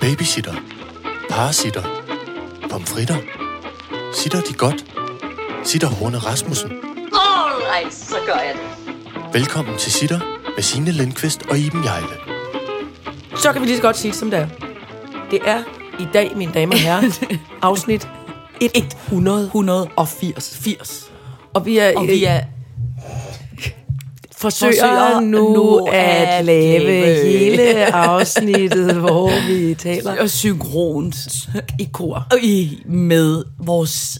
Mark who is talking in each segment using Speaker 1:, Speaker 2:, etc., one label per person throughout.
Speaker 1: Babysitter. Parasitter. Pomfritter. Sitter de godt? Sitter Horne Rasmussen.
Speaker 2: Alright, så gør jeg det.
Speaker 1: Velkommen til Sitter med Signe Lindqvist og Iben Jejle.
Speaker 3: Så kan vi lige så godt sige det, som det er. Det er i dag, mine damer og herrer, afsnit 100.
Speaker 4: 180.
Speaker 3: 80. Og vi er,
Speaker 4: Og vi er
Speaker 3: forsøger,
Speaker 4: forsøger
Speaker 3: nu,
Speaker 4: nu
Speaker 3: at,
Speaker 4: at
Speaker 3: lave,
Speaker 4: lave-
Speaker 3: hele afsnittet, hvor vi taler.
Speaker 4: og synkront i kor og i, med vores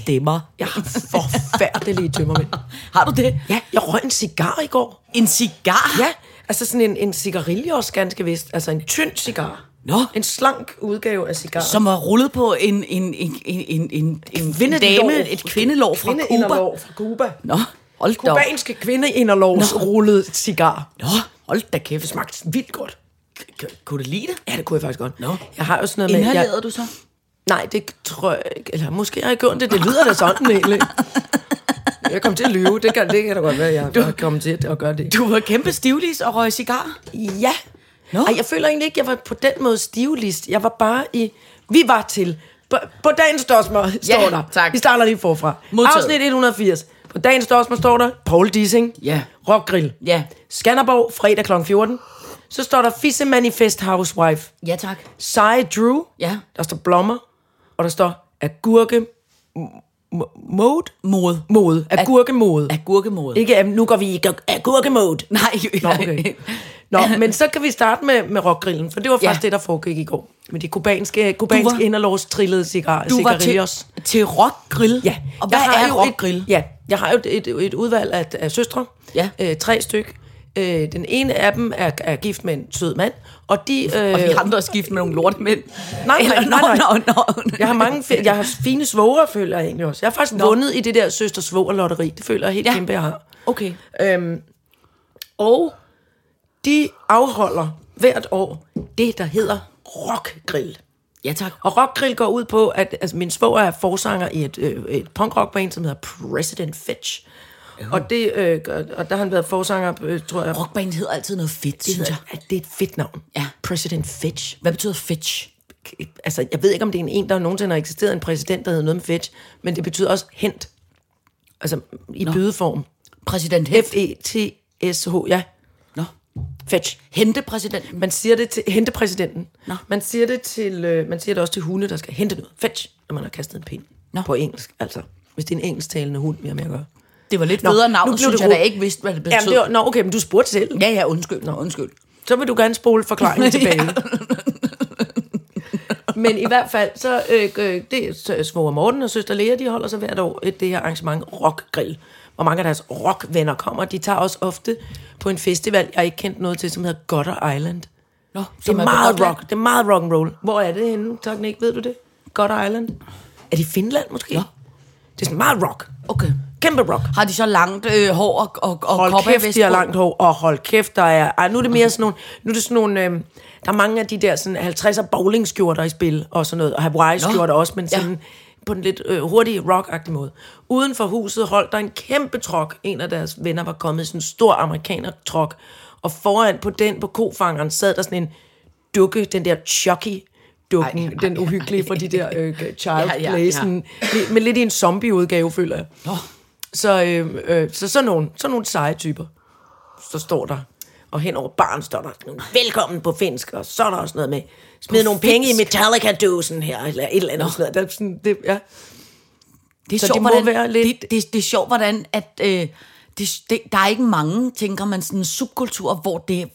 Speaker 4: stemmer.
Speaker 3: Jeg har forfærdelige tømmermænd.
Speaker 4: Har du det?
Speaker 3: Ja, jeg røg en cigar i går.
Speaker 4: En cigar?
Speaker 3: Ja, altså sådan en, en cigarille også ganske vist. Altså en tynd cigar.
Speaker 4: Nå.
Speaker 3: En slank udgave af cigar.
Speaker 4: Som var rullet på en, en, en, en, en, en, en dame, et kvindelov fra Cuba.
Speaker 3: Kvindeindlov fra Cuba.
Speaker 4: Nå, hold da op.
Speaker 3: Kubanske kvindeinderlovs
Speaker 4: Nå.
Speaker 3: rullede cigar.
Speaker 4: Nå, hold da kæft.
Speaker 3: Det smagte vildt godt.
Speaker 4: K- Kunne du lide det?
Speaker 3: Ja, det kunne jeg faktisk godt.
Speaker 4: Nå.
Speaker 3: Jeg har jo sådan noget med...
Speaker 4: Inhalerede
Speaker 3: Jeg,
Speaker 4: du så?
Speaker 3: nej, det tror jeg ikke. Eller måske har jeg gjort det. Det lyder da sådan egentlig. Jeg kom til at lyve. Det kan, det kan da godt være, jeg har kommet til at gøre det.
Speaker 4: Du var kæmpe stivlis og røg cigar.
Speaker 3: Ja.
Speaker 4: Nå.
Speaker 3: Ej, jeg føler egentlig ikke, jeg var på den måde stivlist. Jeg var bare i... Vi var til... På, på dagens dørsmål står der.
Speaker 4: tak.
Speaker 3: Vi starter lige forfra.
Speaker 4: Modtaget.
Speaker 3: Afsnit 180. På dagens dørsmål står der Paul Dissing.
Speaker 4: Ja.
Speaker 3: Rockgrill.
Speaker 4: Ja.
Speaker 3: Skanderborg, fredag kl. 14. Så står der Fisse Manifest Housewife.
Speaker 4: Ja, tak.
Speaker 3: Seje Drew.
Speaker 4: Ja.
Speaker 3: Der står blommer. Og der står agurke... m- m- Mode?
Speaker 4: Mode.
Speaker 3: Mode. Agurkemode.
Speaker 4: Agurkemode.
Speaker 3: Ikke, øhm, nu går vi i ag- agurkemode.
Speaker 4: Nej,
Speaker 3: Nå, okay. Nå, men så kan vi starte med, med rockgrillen, for det var
Speaker 4: Ja.
Speaker 3: faktisk ja. det, der foregik i går. Med de kubanske, kubanske
Speaker 4: Du var-
Speaker 3: inderlovs trillede cigar,
Speaker 4: Du var til,
Speaker 3: cigarillos.
Speaker 4: til rockgrill.
Speaker 3: Ja.
Speaker 4: Og hvad
Speaker 3: Jeg har
Speaker 4: er
Speaker 3: jo
Speaker 4: rockgrill?
Speaker 3: Et, ja, jeg har jo et, et, et udvalg af, af søstre.
Speaker 4: Ja.
Speaker 3: Øh, tre styk. Øh, den ene af dem er, er gift med en sød mand, og de... Øh,
Speaker 4: Og vi andre er skift med nogle lortemænd.
Speaker 3: Nej, nej, nej, nej.
Speaker 4: Nå, nå,
Speaker 3: Jeg har mange fi- jeg har fine svoger, føler jeg egentlig også. Jeg har faktisk Nå. vundet i det der søster svoger lotteri. Det føler jeg helt ja.
Speaker 4: Ja.
Speaker 3: kæmpe, jeg har.
Speaker 4: Okay.
Speaker 3: Og de afholder hvert år det, der hedder rockgrill.
Speaker 4: Ja, tak.
Speaker 3: Og rockgrill går ud på, at altså, min svoger er forsanger i et, øh, et punkrockband, som hedder President Fetch. Og, det, øh, gør- og der har han været forsanger, øh, tror jeg.
Speaker 4: Rockband hedder altid noget fedt,
Speaker 3: det,
Speaker 4: synes jeg.
Speaker 3: hedder- at det er et fedt navn.
Speaker 4: Ja.
Speaker 3: President Fetch.
Speaker 4: Hvad betyder fetch?
Speaker 3: Altså, jeg ved ikke, om det er en, en der nogensinde har eksisteret en præsident, der hedder noget med Fetch, men det betyder også hent. Altså, i Nå. bydeform. E
Speaker 4: Præsident Hent.
Speaker 3: F-E-T-S-H, ja.
Speaker 4: Nå.
Speaker 3: Fetch.
Speaker 4: Hente præsidenten.
Speaker 3: Man siger det til hentepræsidenten.
Speaker 4: Nå.
Speaker 3: Man siger det til øh, man siger det også til hunde, der skal hente noget. Fetch, når man har kastet en pind.
Speaker 4: Nå.
Speaker 3: På engelsk, altså. Hvis det er en engelsktalende hund, vi har med at gøre.
Speaker 4: Det var lidt
Speaker 3: Nå,
Speaker 4: bedre
Speaker 3: nu
Speaker 4: navn,
Speaker 3: blev
Speaker 4: synes
Speaker 3: det
Speaker 4: jeg, da
Speaker 3: ro-
Speaker 4: jeg ikke vidste, hvad det betød.
Speaker 3: Jamen, det var, nå, okay, men du spurgte selv.
Speaker 4: Ja, ja, undskyld. Nå, undskyld.
Speaker 3: Så vil du gerne spole forklaringen tilbage. men i hvert fald, så øh, øh, det så svoger Morten og søster Lea, de holder så hvert år et, det her arrangement Rockgrill. Hvor mange af deres rockvenner kommer. De tager også ofte på en festival, jeg ikke kendte noget til, som hedder Gutter Island.
Speaker 4: Nå,
Speaker 3: Det er
Speaker 4: som på
Speaker 3: meget
Speaker 4: Gotland.
Speaker 3: rock. Det er meget rock and roll. Hvor er det henne? Tak, Nick. Ved du det? Godt Island. Er det i Finland måske?
Speaker 4: Ja.
Speaker 3: Det er sådan meget rock.
Speaker 4: Okay.
Speaker 3: Kæmpe rock.
Speaker 4: Har de så langt øh, hår og, og, og
Speaker 3: Hold
Speaker 4: kopper
Speaker 3: kæft, de har langt hår. Og hold kæft, der er... Ej, nu er det mere sådan nogle... Nu er det sådan nogle... Øh, der er mange af de der sådan 50'er bowlingskjorter i spil og sådan noget. Og Hawaii-skjorter
Speaker 4: Nå.
Speaker 3: også, men sådan... Ja. På en lidt øh, hurtig rock måde. Uden for huset holdt der en kæmpe trok. En af deres venner var kommet i sådan en stor amerikaner trok. Og foran på den, på kofangeren, sad der sådan en dukke, den der Chucky, dukken,
Speaker 4: Ej,
Speaker 3: ej,
Speaker 4: ej,
Speaker 3: den uhyggelige fra de der øh, child ja,
Speaker 4: Ja, ja,
Speaker 3: play,
Speaker 4: ja.
Speaker 3: sådan, li- men lidt i en zombieudgave, føler jeg.
Speaker 4: Nå.
Speaker 3: Så, øh, øh, så sådan nogle, sådan nogle seje typer, så står der. Og hen over baren står der sådan, velkommen på finsk, og så er der også noget med, smid
Speaker 4: På
Speaker 3: nogle penge i
Speaker 4: finsk?
Speaker 3: Metallica-dåsen her, eller et eller andet. Sådan noget. Der, er sådan, det, ja.
Speaker 4: Det er
Speaker 3: Så
Speaker 4: sjovt,
Speaker 3: det må
Speaker 4: hvordan,
Speaker 3: være lidt-
Speaker 4: Det, det, det er sjovt, hvordan at... Øh, det, det, der er ikke mange, tænker man, sådan subkulturer, hvor det er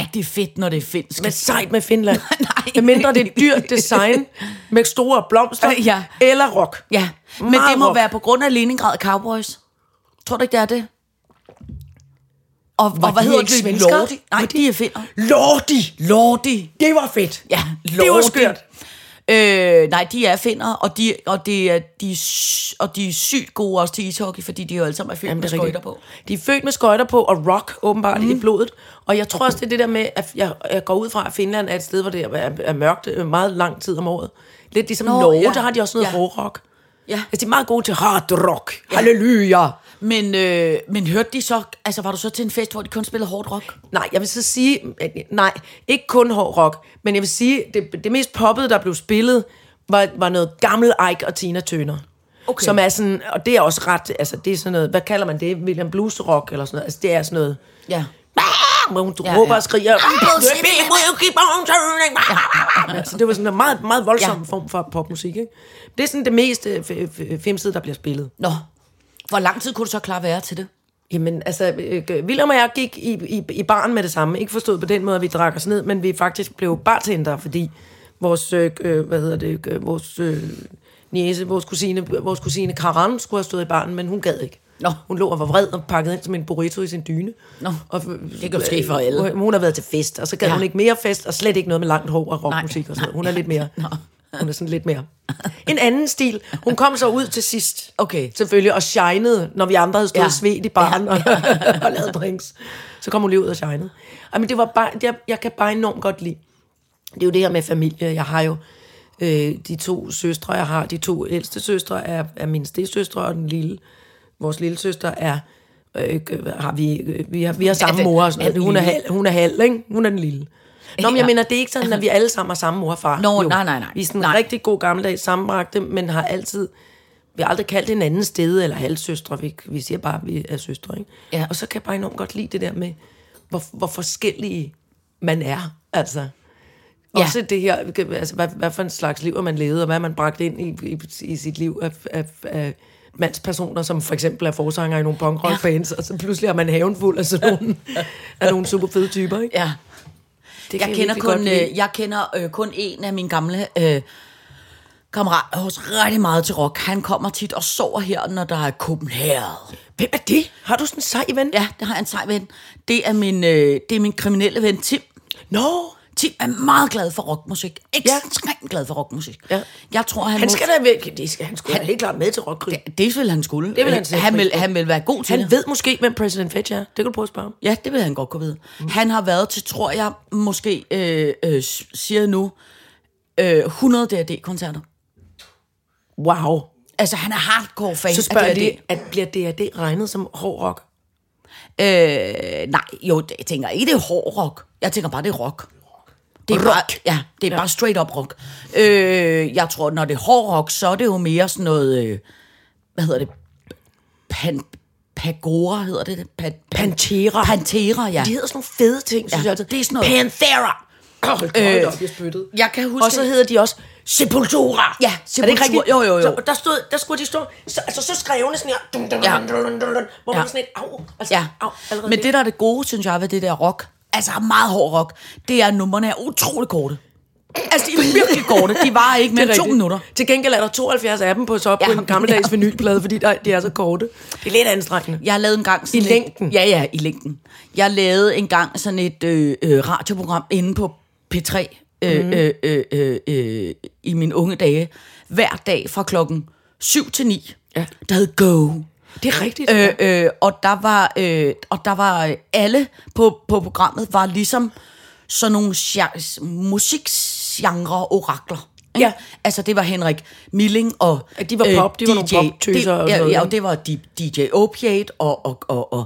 Speaker 4: rigtig fedt, når det er finsk.
Speaker 3: Men sejt med Finland.
Speaker 4: Nej.
Speaker 3: Med mindre det er dyrt design, med store blomster,
Speaker 4: Øh, ja.
Speaker 3: eller rock.
Speaker 4: Ja, men
Speaker 3: Meget
Speaker 4: det må
Speaker 3: rock.
Speaker 4: være på grund af Leningrad Cowboys. Tror du ikke, det er det? Og, og
Speaker 3: de
Speaker 4: hvad hedder
Speaker 3: ikke
Speaker 4: det?
Speaker 3: svenskere?
Speaker 4: Lordi? Nej, de er finner.
Speaker 3: Lordi!
Speaker 4: Lordi.
Speaker 3: Det var fedt.
Speaker 4: Ja, Lordi.
Speaker 3: Det var skørt.
Speaker 4: Øh, nej, de er finner, og de, og, det er, de, er sy- og de er sygt gode også til ishockey, fordi de jo alle sammen er fyldt med
Speaker 3: Jamen, det
Speaker 4: skøjter
Speaker 3: er
Speaker 4: på. Mhm.
Speaker 3: rigtigt. De er født med skøjter på, og rock åbenbart mm. i blodet. Og jeg tror også, det er det der med, at jeg, jeg går ud fra, at Finland er et sted, hvor det er, er mørkt øh, meget lang tid om året. Lidt ligesom Nå,
Speaker 4: Nå,
Speaker 3: Norge, ja.
Speaker 4: ja.
Speaker 3: der har de også noget ja.
Speaker 4: Ja.
Speaker 3: hårdrock.
Speaker 4: Ja.
Speaker 3: Altså, de er meget gode til hard rock. Ja. Halleluja.
Speaker 4: Men, øh, men hørte de så, altså var du så til en fest, hvor de kun spillede hårdt rock?
Speaker 3: Nej, jeg vil så sige, at, nej, ikke kun hård rock, men jeg vil sige, det, det mest poppede, der blev spillet, var, var noget gammel Ike og Tina Turner.
Speaker 4: Okay.
Speaker 3: Som er sådan, og det er også ret, altså det er sådan noget, hvad kalder man det, William Blues rock eller sådan noget, altså det er sådan noget,
Speaker 4: Ja.
Speaker 3: hvor hun
Speaker 4: Ja,
Speaker 3: ja, råber
Speaker 4: ja.
Speaker 3: og skriger,
Speaker 4: bullshit,
Speaker 3: så altså, det var sådan en meget, meget voldsom ja. form for popmusik, ikke? Det er sådan det mest øh, f- f- femsede, der bliver spillet.
Speaker 4: Nå, hvor lang tid kunne du så klare at være til det?
Speaker 3: Jamen, altså, øh, William og jeg gik i, i, i baren med det samme. Ikke forstået på den måde, at vi drak os ned, men vi faktisk blev bartender, fordi vores, øh, øh, hvad hedder det, øh, vores øh, niece, vores kusine, vores kusine Karan skulle have stået i baren, men hun gad ikke.
Speaker 4: Nå.
Speaker 3: Hun lå og var vred og pakket ind som en burrito i sin dyne.
Speaker 4: Nå,
Speaker 3: og, øh,
Speaker 4: det kan jo ske for alle.
Speaker 3: Hun, hun har været til fest, og så gad
Speaker 4: Ja.
Speaker 3: ja. hun ikke mere fest, og slet ikke noget med langt hår og rockmusik
Speaker 4: Nej,
Speaker 3: og sådan noget. Hun
Speaker 4: nej,
Speaker 3: er lidt mere...
Speaker 4: nå.
Speaker 3: Hun er sådan lidt mere. En anden stil. Hun kom så ud til sidst.
Speaker 4: Okay.
Speaker 3: Selvfølgelig, og shinede, når vi andre havde stået
Speaker 4: Ja.
Speaker 3: ja. svedt i baren ja. og, og lavet drinks. Så kom hun lige ud og shinede. Ej, men det var bare, jeg, jeg kan bare enormt godt lide. Det er jo det her med familie. Jeg har jo øh, de to søstre, jeg har. De to ældste søstre er, er min stedsøstre, og den lille, vores lille søster er... Øh, øh, har vi, øh, vi, har, vi har samme
Speaker 4: det-
Speaker 3: mor og sådan
Speaker 4: Altså,
Speaker 3: noget.
Speaker 4: er den
Speaker 3: Hun er,
Speaker 4: lille?
Speaker 3: halv, hun er halv, ikke? Hun er den lille. Nå, men jeg
Speaker 4: Ja.
Speaker 3: mener, det er ikke sådan, at vi alle sammen har samme mor og far.
Speaker 4: Nå, nej, nej, nej.
Speaker 3: Vi er sådan
Speaker 4: Nej.
Speaker 3: rigtig god gammeldags sammenbragte, men har altid... Vi har aldrig kaldt hinanden stede eller halvsøstre. Vi, vi siger bare, at vi er søstre, ikke?
Speaker 4: Ja.
Speaker 3: Og så kan jeg bare enormt godt lide det der med, hvor, hvor forskellige man er, altså.
Speaker 4: Ja.
Speaker 3: Ja. Også det her, altså, hvad, hvad for en slags liv har man levet, og hvad har man bragt ind i, i, i sit liv af, af, af mandspersoner, som for eksempel er forsanger i nogle punkrock-bands, ja. og så pludselig har man haven fuld af sådan nogle, af nogle super fede typer, ikke?
Speaker 4: Ja.
Speaker 3: Det
Speaker 4: Jeg,
Speaker 3: kan
Speaker 4: kender
Speaker 3: virkelig godt
Speaker 4: kun,
Speaker 3: lide.
Speaker 4: øh, jeg kender øh, kun en af mine gamle øh, kammerater hos rigtig meget til rock. Han kommer tit og sover her, når der er Copenhagen.
Speaker 3: Hvem er det? Har du sådan en sej ven?
Speaker 4: Ja, det har jeg en sej ven. Det er min, øh, det er min kriminelle ven Tim.
Speaker 3: Nå,
Speaker 4: Tim er meget glad for rockmusik. Ekstremt ja. glad for rockmusik.
Speaker 3: Ja.
Speaker 4: Jeg tror, han,
Speaker 3: han
Speaker 4: må-
Speaker 3: skal da væk. Det skal, han skulle han, helt klart med til rockkrig.
Speaker 4: Ja, Det vil han skulle.
Speaker 3: Det vil han sætte
Speaker 4: han vil,
Speaker 3: pris på.
Speaker 4: han vil være god til
Speaker 3: Han
Speaker 4: det.
Speaker 3: ved måske, hvem President Fetch er. Det kan du prøve at spørge om.
Speaker 4: Ja, det vil han godt kunne vide. Mm. Han har været til, tror jeg, måske, øh, øh, s- siger jeg nu, øh, 100 D&D-koncerter.
Speaker 3: Wow.
Speaker 4: Altså, han er hardcore fan
Speaker 3: Så spørger
Speaker 4: af
Speaker 3: jeg
Speaker 4: D&D.
Speaker 3: lige, at bliver D&D regnet som hård rock?
Speaker 4: Øh, nej, jo, det- jeg tænker ikke, det er hård rock. Jeg tænker bare, det er rock. Det er rock. Bare, ja, det er ja. bare straight up rock. Øh, jeg tror, når det er hård rock, så er det jo mere sådan noget, øh, hvad hedder det, Pan, Pagora hedder det, Pan,
Speaker 3: Pantera.
Speaker 4: Pantera, ja.
Speaker 3: De hedder sådan nogle fede ting, synes
Speaker 4: Ja,
Speaker 3: jeg altid.
Speaker 4: det er sådan noget-
Speaker 3: Panthera. Hold øh, op, jeg spyttede.
Speaker 4: Jeg kan huske...
Speaker 3: Og så hedder de også Sepultura.
Speaker 4: Ja,
Speaker 3: Er det ikke
Speaker 4: Sepultura.
Speaker 3: rigtigt?
Speaker 4: Jo, jo, jo.
Speaker 3: Så, der, stod, der skulle de stå, så, altså så skrevne sådan her, dun, dun,
Speaker 4: Ja.
Speaker 3: dun, dun, dun, dun, dun, hvor man
Speaker 4: Ja.
Speaker 3: sådan et, au, altså,
Speaker 4: Ja,
Speaker 3: au, allerede
Speaker 4: men det, der er det gode, synes jeg, ved det der rock, altså meget hård rock, det er, at numrene er utrolig korte. Altså, de er virkelig korte. De var ikke mere
Speaker 3: Det
Speaker 4: end
Speaker 3: er
Speaker 4: to
Speaker 3: rigtigt.
Speaker 4: minutter.
Speaker 3: Til gengæld er der 72 af dem på, så
Speaker 4: Ja.
Speaker 3: på en gammeldags
Speaker 4: Ja.
Speaker 3: vinylplade, fordi der, de er så korte. Det er lidt anstrengende.
Speaker 4: Jeg lavede en gang sådan
Speaker 3: I
Speaker 4: et-
Speaker 3: længden?
Speaker 4: Ja, ja, i længden. Jeg lavede en gang sådan et øh, øh, radioprogram inde på P3 øh,
Speaker 3: Mhm.
Speaker 4: øh, øh, øh, øh, i mine unge dage. Hver dag fra klokken 7 til 9.
Speaker 3: Ja.
Speaker 4: Der hed Go.
Speaker 3: Det er rigtigt.
Speaker 4: Øh, øh, og der var øh, og der var øh, alle på, på programmet var ligesom sådan nogle gen- musikgenre orakler. ikke?
Speaker 3: Ja.
Speaker 4: Altså det var Henrik Milling og øh,
Speaker 3: Ja, de var pop, de var nogle poptøser og
Speaker 4: og ja,
Speaker 3: sådan
Speaker 4: ja,
Speaker 3: noget,
Speaker 4: og det var de, DJ Opiate og, og, og, og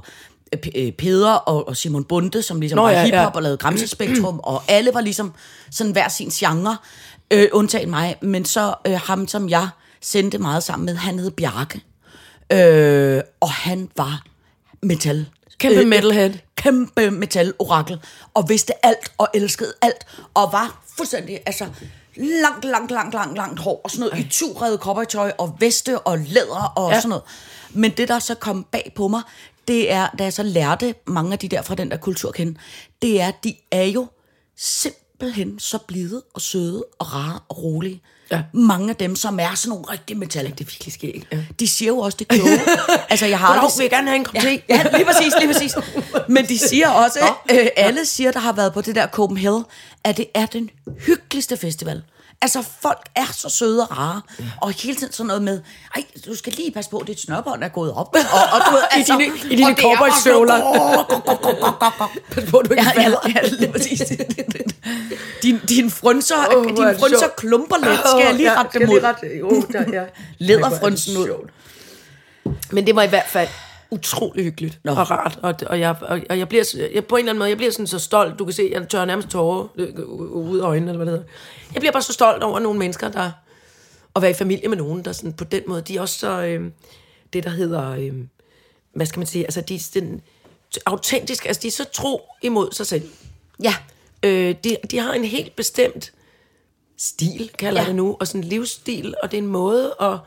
Speaker 4: øh, P- øh, Peder og, og Simon Bunde, som ligesom
Speaker 3: Nå,
Speaker 4: var
Speaker 3: ja,
Speaker 4: hiphop
Speaker 3: ja.
Speaker 4: og lavede Gramsespektrum, og alle var ligesom sådan hver sin genre, øh, undtagen mig. Men så øh, ham, som jeg sendte meget sammen med, han hed Bjarke. Øh, og han var metal. Øh,
Speaker 3: Kæmpe metalhead.
Speaker 4: Kæmpe metal-orakel. Og vidste alt, og elskede alt, og var fuldstændig, altså langt, langt, langt, langt, langt hår, og sådan noget, i turede cowboytøj, og veste, og læder, og ja.
Speaker 3: Ja.
Speaker 4: sådan noget. Men det, der så kom bag på mig, det er, da jeg så lærte mange af de der fra den der kultur at kende, det er, at de er jo simpelthen så blide og søde og rare og rolige.
Speaker 3: Ja.
Speaker 4: Mange af dem, som er sådan nogle rigtige metal.
Speaker 3: det er virkelig skægt. Ja.
Speaker 4: De siger jo også det kloge. altså, jeg har
Speaker 3: Hvornår
Speaker 4: aldrig...
Speaker 3: vil jeg gerne have en kop te?
Speaker 4: Ja, ja, lige præcis, lige præcis. Men de siger også, øh, alle siger, der har været på det der Copenhagen, at det er den hyggeligste festival. Altså, folk er så søde og rare, ja. og hele tiden sådan noget med, ej, du skal lige passe på, dit snørbånd er gået op. Og, og du ved,
Speaker 3: I
Speaker 4: altså,
Speaker 3: dine- i dine
Speaker 4: og det er bare
Speaker 3: cowboystøvler.
Speaker 4: sådan-
Speaker 3: Pas på, du ikke
Speaker 4: Ja, ja,
Speaker 3: falder.
Speaker 4: ja, lige præcis. Din, din frunser,
Speaker 3: Åh,
Speaker 4: oh,
Speaker 3: hvor er
Speaker 4: din
Speaker 3: det
Speaker 4: frunser
Speaker 3: sjovt.
Speaker 4: klumper lidt. Skal jeg lige
Speaker 3: Åh,
Speaker 4: rette
Speaker 3: skal
Speaker 4: dem
Speaker 3: jeg
Speaker 4: ud?
Speaker 3: lige rette- jo, der- ja.
Speaker 4: Lederfrunsen ud.
Speaker 3: Men det var i hvert fald utrolig hyggeligt
Speaker 4: Nå.
Speaker 3: Nå. og rart. Og, og, jeg, og, og jeg bliver, s- jeg, på en eller anden måde, jeg bliver sådan så stolt. Du kan se, jeg tør nærmest tårer øh, ud af øjnene, eller hvad det hedder. Jeg bliver bare så stolt over nogle mennesker, der... At være i familie med nogen, der sådan på den måde, de er også så... Øh, det, der hedder... Øh, hvad skal man sige? Altså, de er sådan autentisk. Altså, de er så tro imod sig selv.
Speaker 4: Ja.
Speaker 3: Øh, de, de har en helt bestemt stil, kalder
Speaker 4: Ja.
Speaker 3: ja. det nu, og sådan en livsstil, og det er en måde at...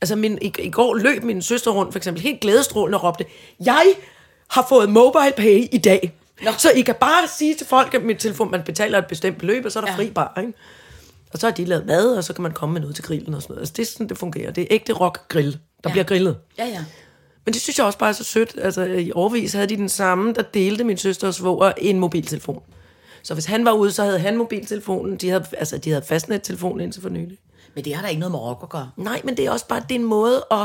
Speaker 3: Altså, min, i, i går løb min søster rundt, for eksempel, helt glædestrålende og råbte, jeg har fået mobile pay i dag. Nå. Så I kan bare sige til folk, at mit telefon, man betaler et bestemt beløb, og så er der
Speaker 4: Ja.
Speaker 3: ja. fri bar, ikke? Og så har de lavet mad, og så kan man komme med noget til grillen og sådan noget. Altså, det er sådan, det fungerer. Det er ægte rock-grill, der
Speaker 4: Ja.
Speaker 3: ja. bliver grillet.
Speaker 4: Ja, ja.
Speaker 3: Men det synes jeg også bare er så sødt. Altså, i årvis havde de den samme, der delte min søster og svoger en mobiltelefon. Så hvis han var ude, så havde han mobiltelefonen. De havde, altså, de havde fastnettelefonen indtil for nylig.
Speaker 4: Men det har da ikke noget med rock at gøre.
Speaker 3: Nej, men det er også bare, det er en måde at...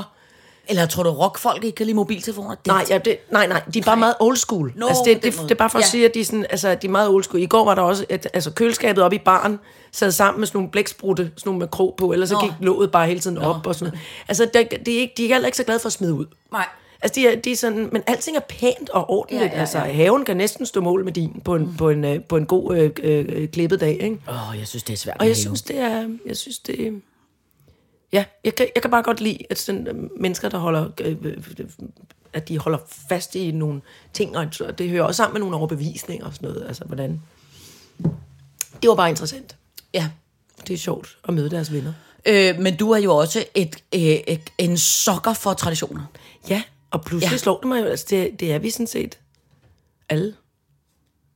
Speaker 4: Eller tror du, rockfolk ikke kan lide mobiltelefoner? Det,
Speaker 3: Nej, ja, det, nej, nej, de er bare meget old school.
Speaker 4: Nå,
Speaker 3: altså, det,
Speaker 4: på den
Speaker 3: det,
Speaker 4: måde.
Speaker 3: det, er bare for at
Speaker 4: Ja.
Speaker 3: sige, at de, er sådan, altså, de er meget old school. I går var der også, at, altså køleskabet oppe i baren sad sammen med sådan nogle blæksprutte, sådan nogle med krog på, ellers så
Speaker 4: Nå.
Speaker 3: gik låget bare hele tiden op og sådan noget. Altså, der, de, er ikke, de er heller ikke så glade for at smide ud.
Speaker 4: Nej.
Speaker 3: Altså, de er, de er sådan, men alting er pænt og ordentligt.
Speaker 4: Ja,
Speaker 3: Ja,
Speaker 4: ja,
Speaker 3: ja, Altså,
Speaker 4: ja.
Speaker 3: haven kan næsten stå mål med din på en, mm. på en, øh, på en god øh, øh, øh, klippet dag, ikke?
Speaker 4: Åh, oh, jeg synes, det er svært
Speaker 3: Og
Speaker 4: med
Speaker 3: jeg
Speaker 4: have.
Speaker 3: synes, det er... Jeg synes, det Ja, jeg kan, jeg kan bare godt lide, at sådan, øh, mennesker, der holder... Øh, øh, øh, at de holder fast i nogle ting, og så- det hører også sammen med nogle overbevisninger og sådan noget. Altså, hvordan... Det var bare interessant.
Speaker 4: Ja.
Speaker 3: Det er sjovt at møde deres venner.
Speaker 4: Øh, men du er jo også et, øh, et, en sokker for traditioner.
Speaker 3: Ja, og pludselig
Speaker 4: Ja.
Speaker 3: ja. slog det mig jo, altså det, det er vi sådan set alle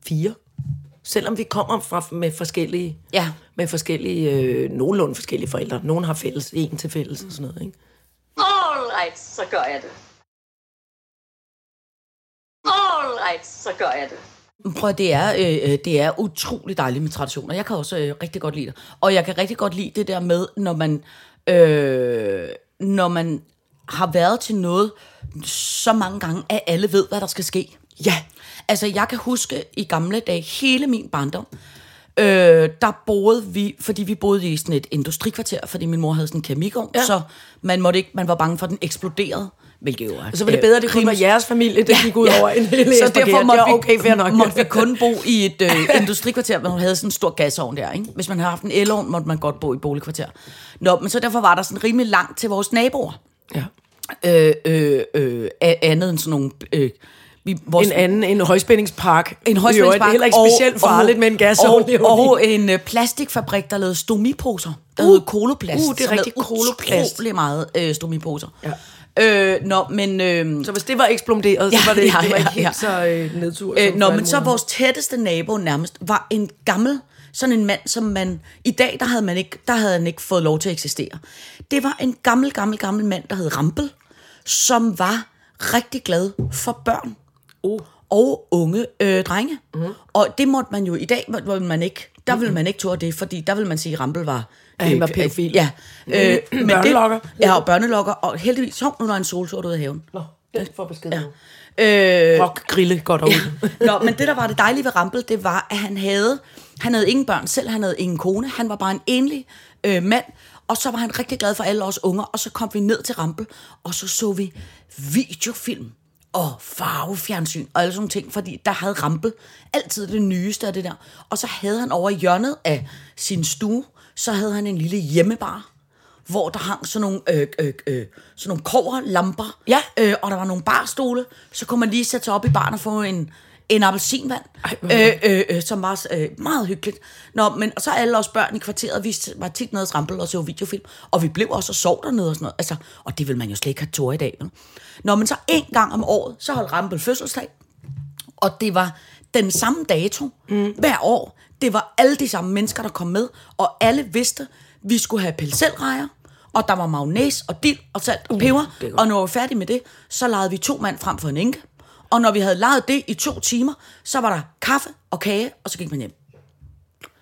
Speaker 3: fire. Selvom vi kommer fra med forskellige,
Speaker 4: Ja.
Speaker 3: med forskellige øh, nogenlunde forskellige forældre. Nogen har fælles, en til fælles og sådan noget, ikke?
Speaker 2: All right, så gør jeg det. All right, så gør jeg det.
Speaker 4: Prøv at- det er, øh, øh, det er utrolig dejligt med traditioner. Jeg kan også øh, rigtig godt lide det. Og jeg kan rigtig godt lide det der med, når man, øh, når man har været til noget så mange gange, at alle ved, hvad der skal ske.
Speaker 3: Ja.
Speaker 4: Altså, jeg kan huske i gamle dage, hele min barndom, øh, der boede vi, fordi vi boede i sådan et industrikvarter, fordi min mor havde sådan en keramikovn, ja.
Speaker 3: Ja.
Speaker 4: så man, måtte ikke, man var bange for, at den eksploderede, hvilket jo er øh,
Speaker 3: Så var det bedre, at det kun var jeres familie, der gik ud over en hel
Speaker 4: så derfor måtte,
Speaker 3: vi,
Speaker 4: vi,
Speaker 3: okay, fair nok.
Speaker 4: måtte vi kun bo i et øh, industrikvarter, hvor man havde sådan en stor gasovn der. Ikke? Hvis man havde haft en elovn, måtte man godt bo i et boligkvarter. Nå, men så derfor var der sådan rimelig langt til vores naboer.
Speaker 3: Ja.
Speaker 4: Øh, øh, øh, a- andet end sådan nogle... Øh, vi, vores,
Speaker 3: En anden, en højspændingspark.
Speaker 4: en
Speaker 3: I øvrigt, Det er
Speaker 4: højspændingsbank.
Speaker 3: heller ikke specielt farligt med en gasovn. det er jo
Speaker 4: Og,
Speaker 3: lige-
Speaker 4: og en øh, plastikfabrik, der lavede stomiposer, der uh, hed Koloplast.
Speaker 3: uh, det er
Speaker 4: som
Speaker 3: rigtig
Speaker 4: lavede
Speaker 3: Coloplast.
Speaker 4: Utrolig meget øh, stomiposer. Ja. Øh, nå, men... Øh,
Speaker 3: Så hvis det var eksploderet, så
Speaker 4: Ja,
Speaker 3: var det,
Speaker 4: ja,
Speaker 3: det var ikke
Speaker 4: ja, ja.
Speaker 3: helt så øh, nedtur.
Speaker 4: Øh,
Speaker 3: som
Speaker 4: nå,
Speaker 3: for
Speaker 4: men
Speaker 3: alle
Speaker 4: så
Speaker 3: mulige
Speaker 4: vores tætteste nabo nærmest var en gammel, sådan en mand, som man, i dag, der havde, man ikke, der havde han ikke fået lov til at eksistere. Det var en gammel, gammel, gammel mand, der hed Rampel, som var rigtig glad for børn
Speaker 3: Oh. Mhm.
Speaker 4: og unge øh, drenge. Mm. Og det måtte man jo i dag, må- må man ikke, der ville man ikke turde det, fordi der ville man sige, at Rampel var...
Speaker 3: Ja, han var pædofil.
Speaker 4: Ja. Øh, men
Speaker 3: Børnelokker.
Speaker 4: Det, ja, og børnelokker. Og heldigvis hov, nu er der en solsort ude i haven.
Speaker 3: Nå, den får besked
Speaker 4: Ja.
Speaker 3: ja.
Speaker 4: Øh,
Speaker 3: Rock grille godt derude.
Speaker 4: Nå, men det, der var det dejlige ved Rampel, det var, at han havde, han havde ingen børn selv, han havde ingen kone, han var bare en enlig øh, mand, og så var han rigtig glad for alle os unger, og så kom vi ned til Rampel, og så så vi videofilm og farvefjernsyn og alle sådan nogle ting, fordi der havde Rampel altid det nyeste af det der. Og så havde han over i hjørnet af sin stue, så havde han en lille hjemmebar, hvor der hang sådan nogle, øh, øh, øh, sådan nogle kover, lamper,
Speaker 3: Ja.
Speaker 4: øh, og der var nogle barstole, så kunne man lige sætte sig op i baren og få en, en appelsinvand,
Speaker 3: Ej, hvor
Speaker 4: øh, øh, øh, som var øh, meget hyggeligt. Nå, men og så alle os børn i kvarteret, vi var tit nede og rampel og så videofilm, og vi blev også og sov dernede og sådan noget. Altså, og det vil man jo slet ikke have tår i dag. Vel? Nå, men så en gang om året, så holdt Rampel fødselsdag, og det var den samme dato mm. hver år. Det var alle de samme mennesker, der kom med, og alle vidste, vi skulle have pelselrejer, og der var magnæs og dild og salt og peber.
Speaker 3: Mm, det er
Speaker 4: Uh,
Speaker 3: godt.
Speaker 4: og når vi var færdige med det, så legede vi to mand frem for en enke. Og når vi havde lejet det i to timer, så var der kaffe og kage, og så gik man hjem.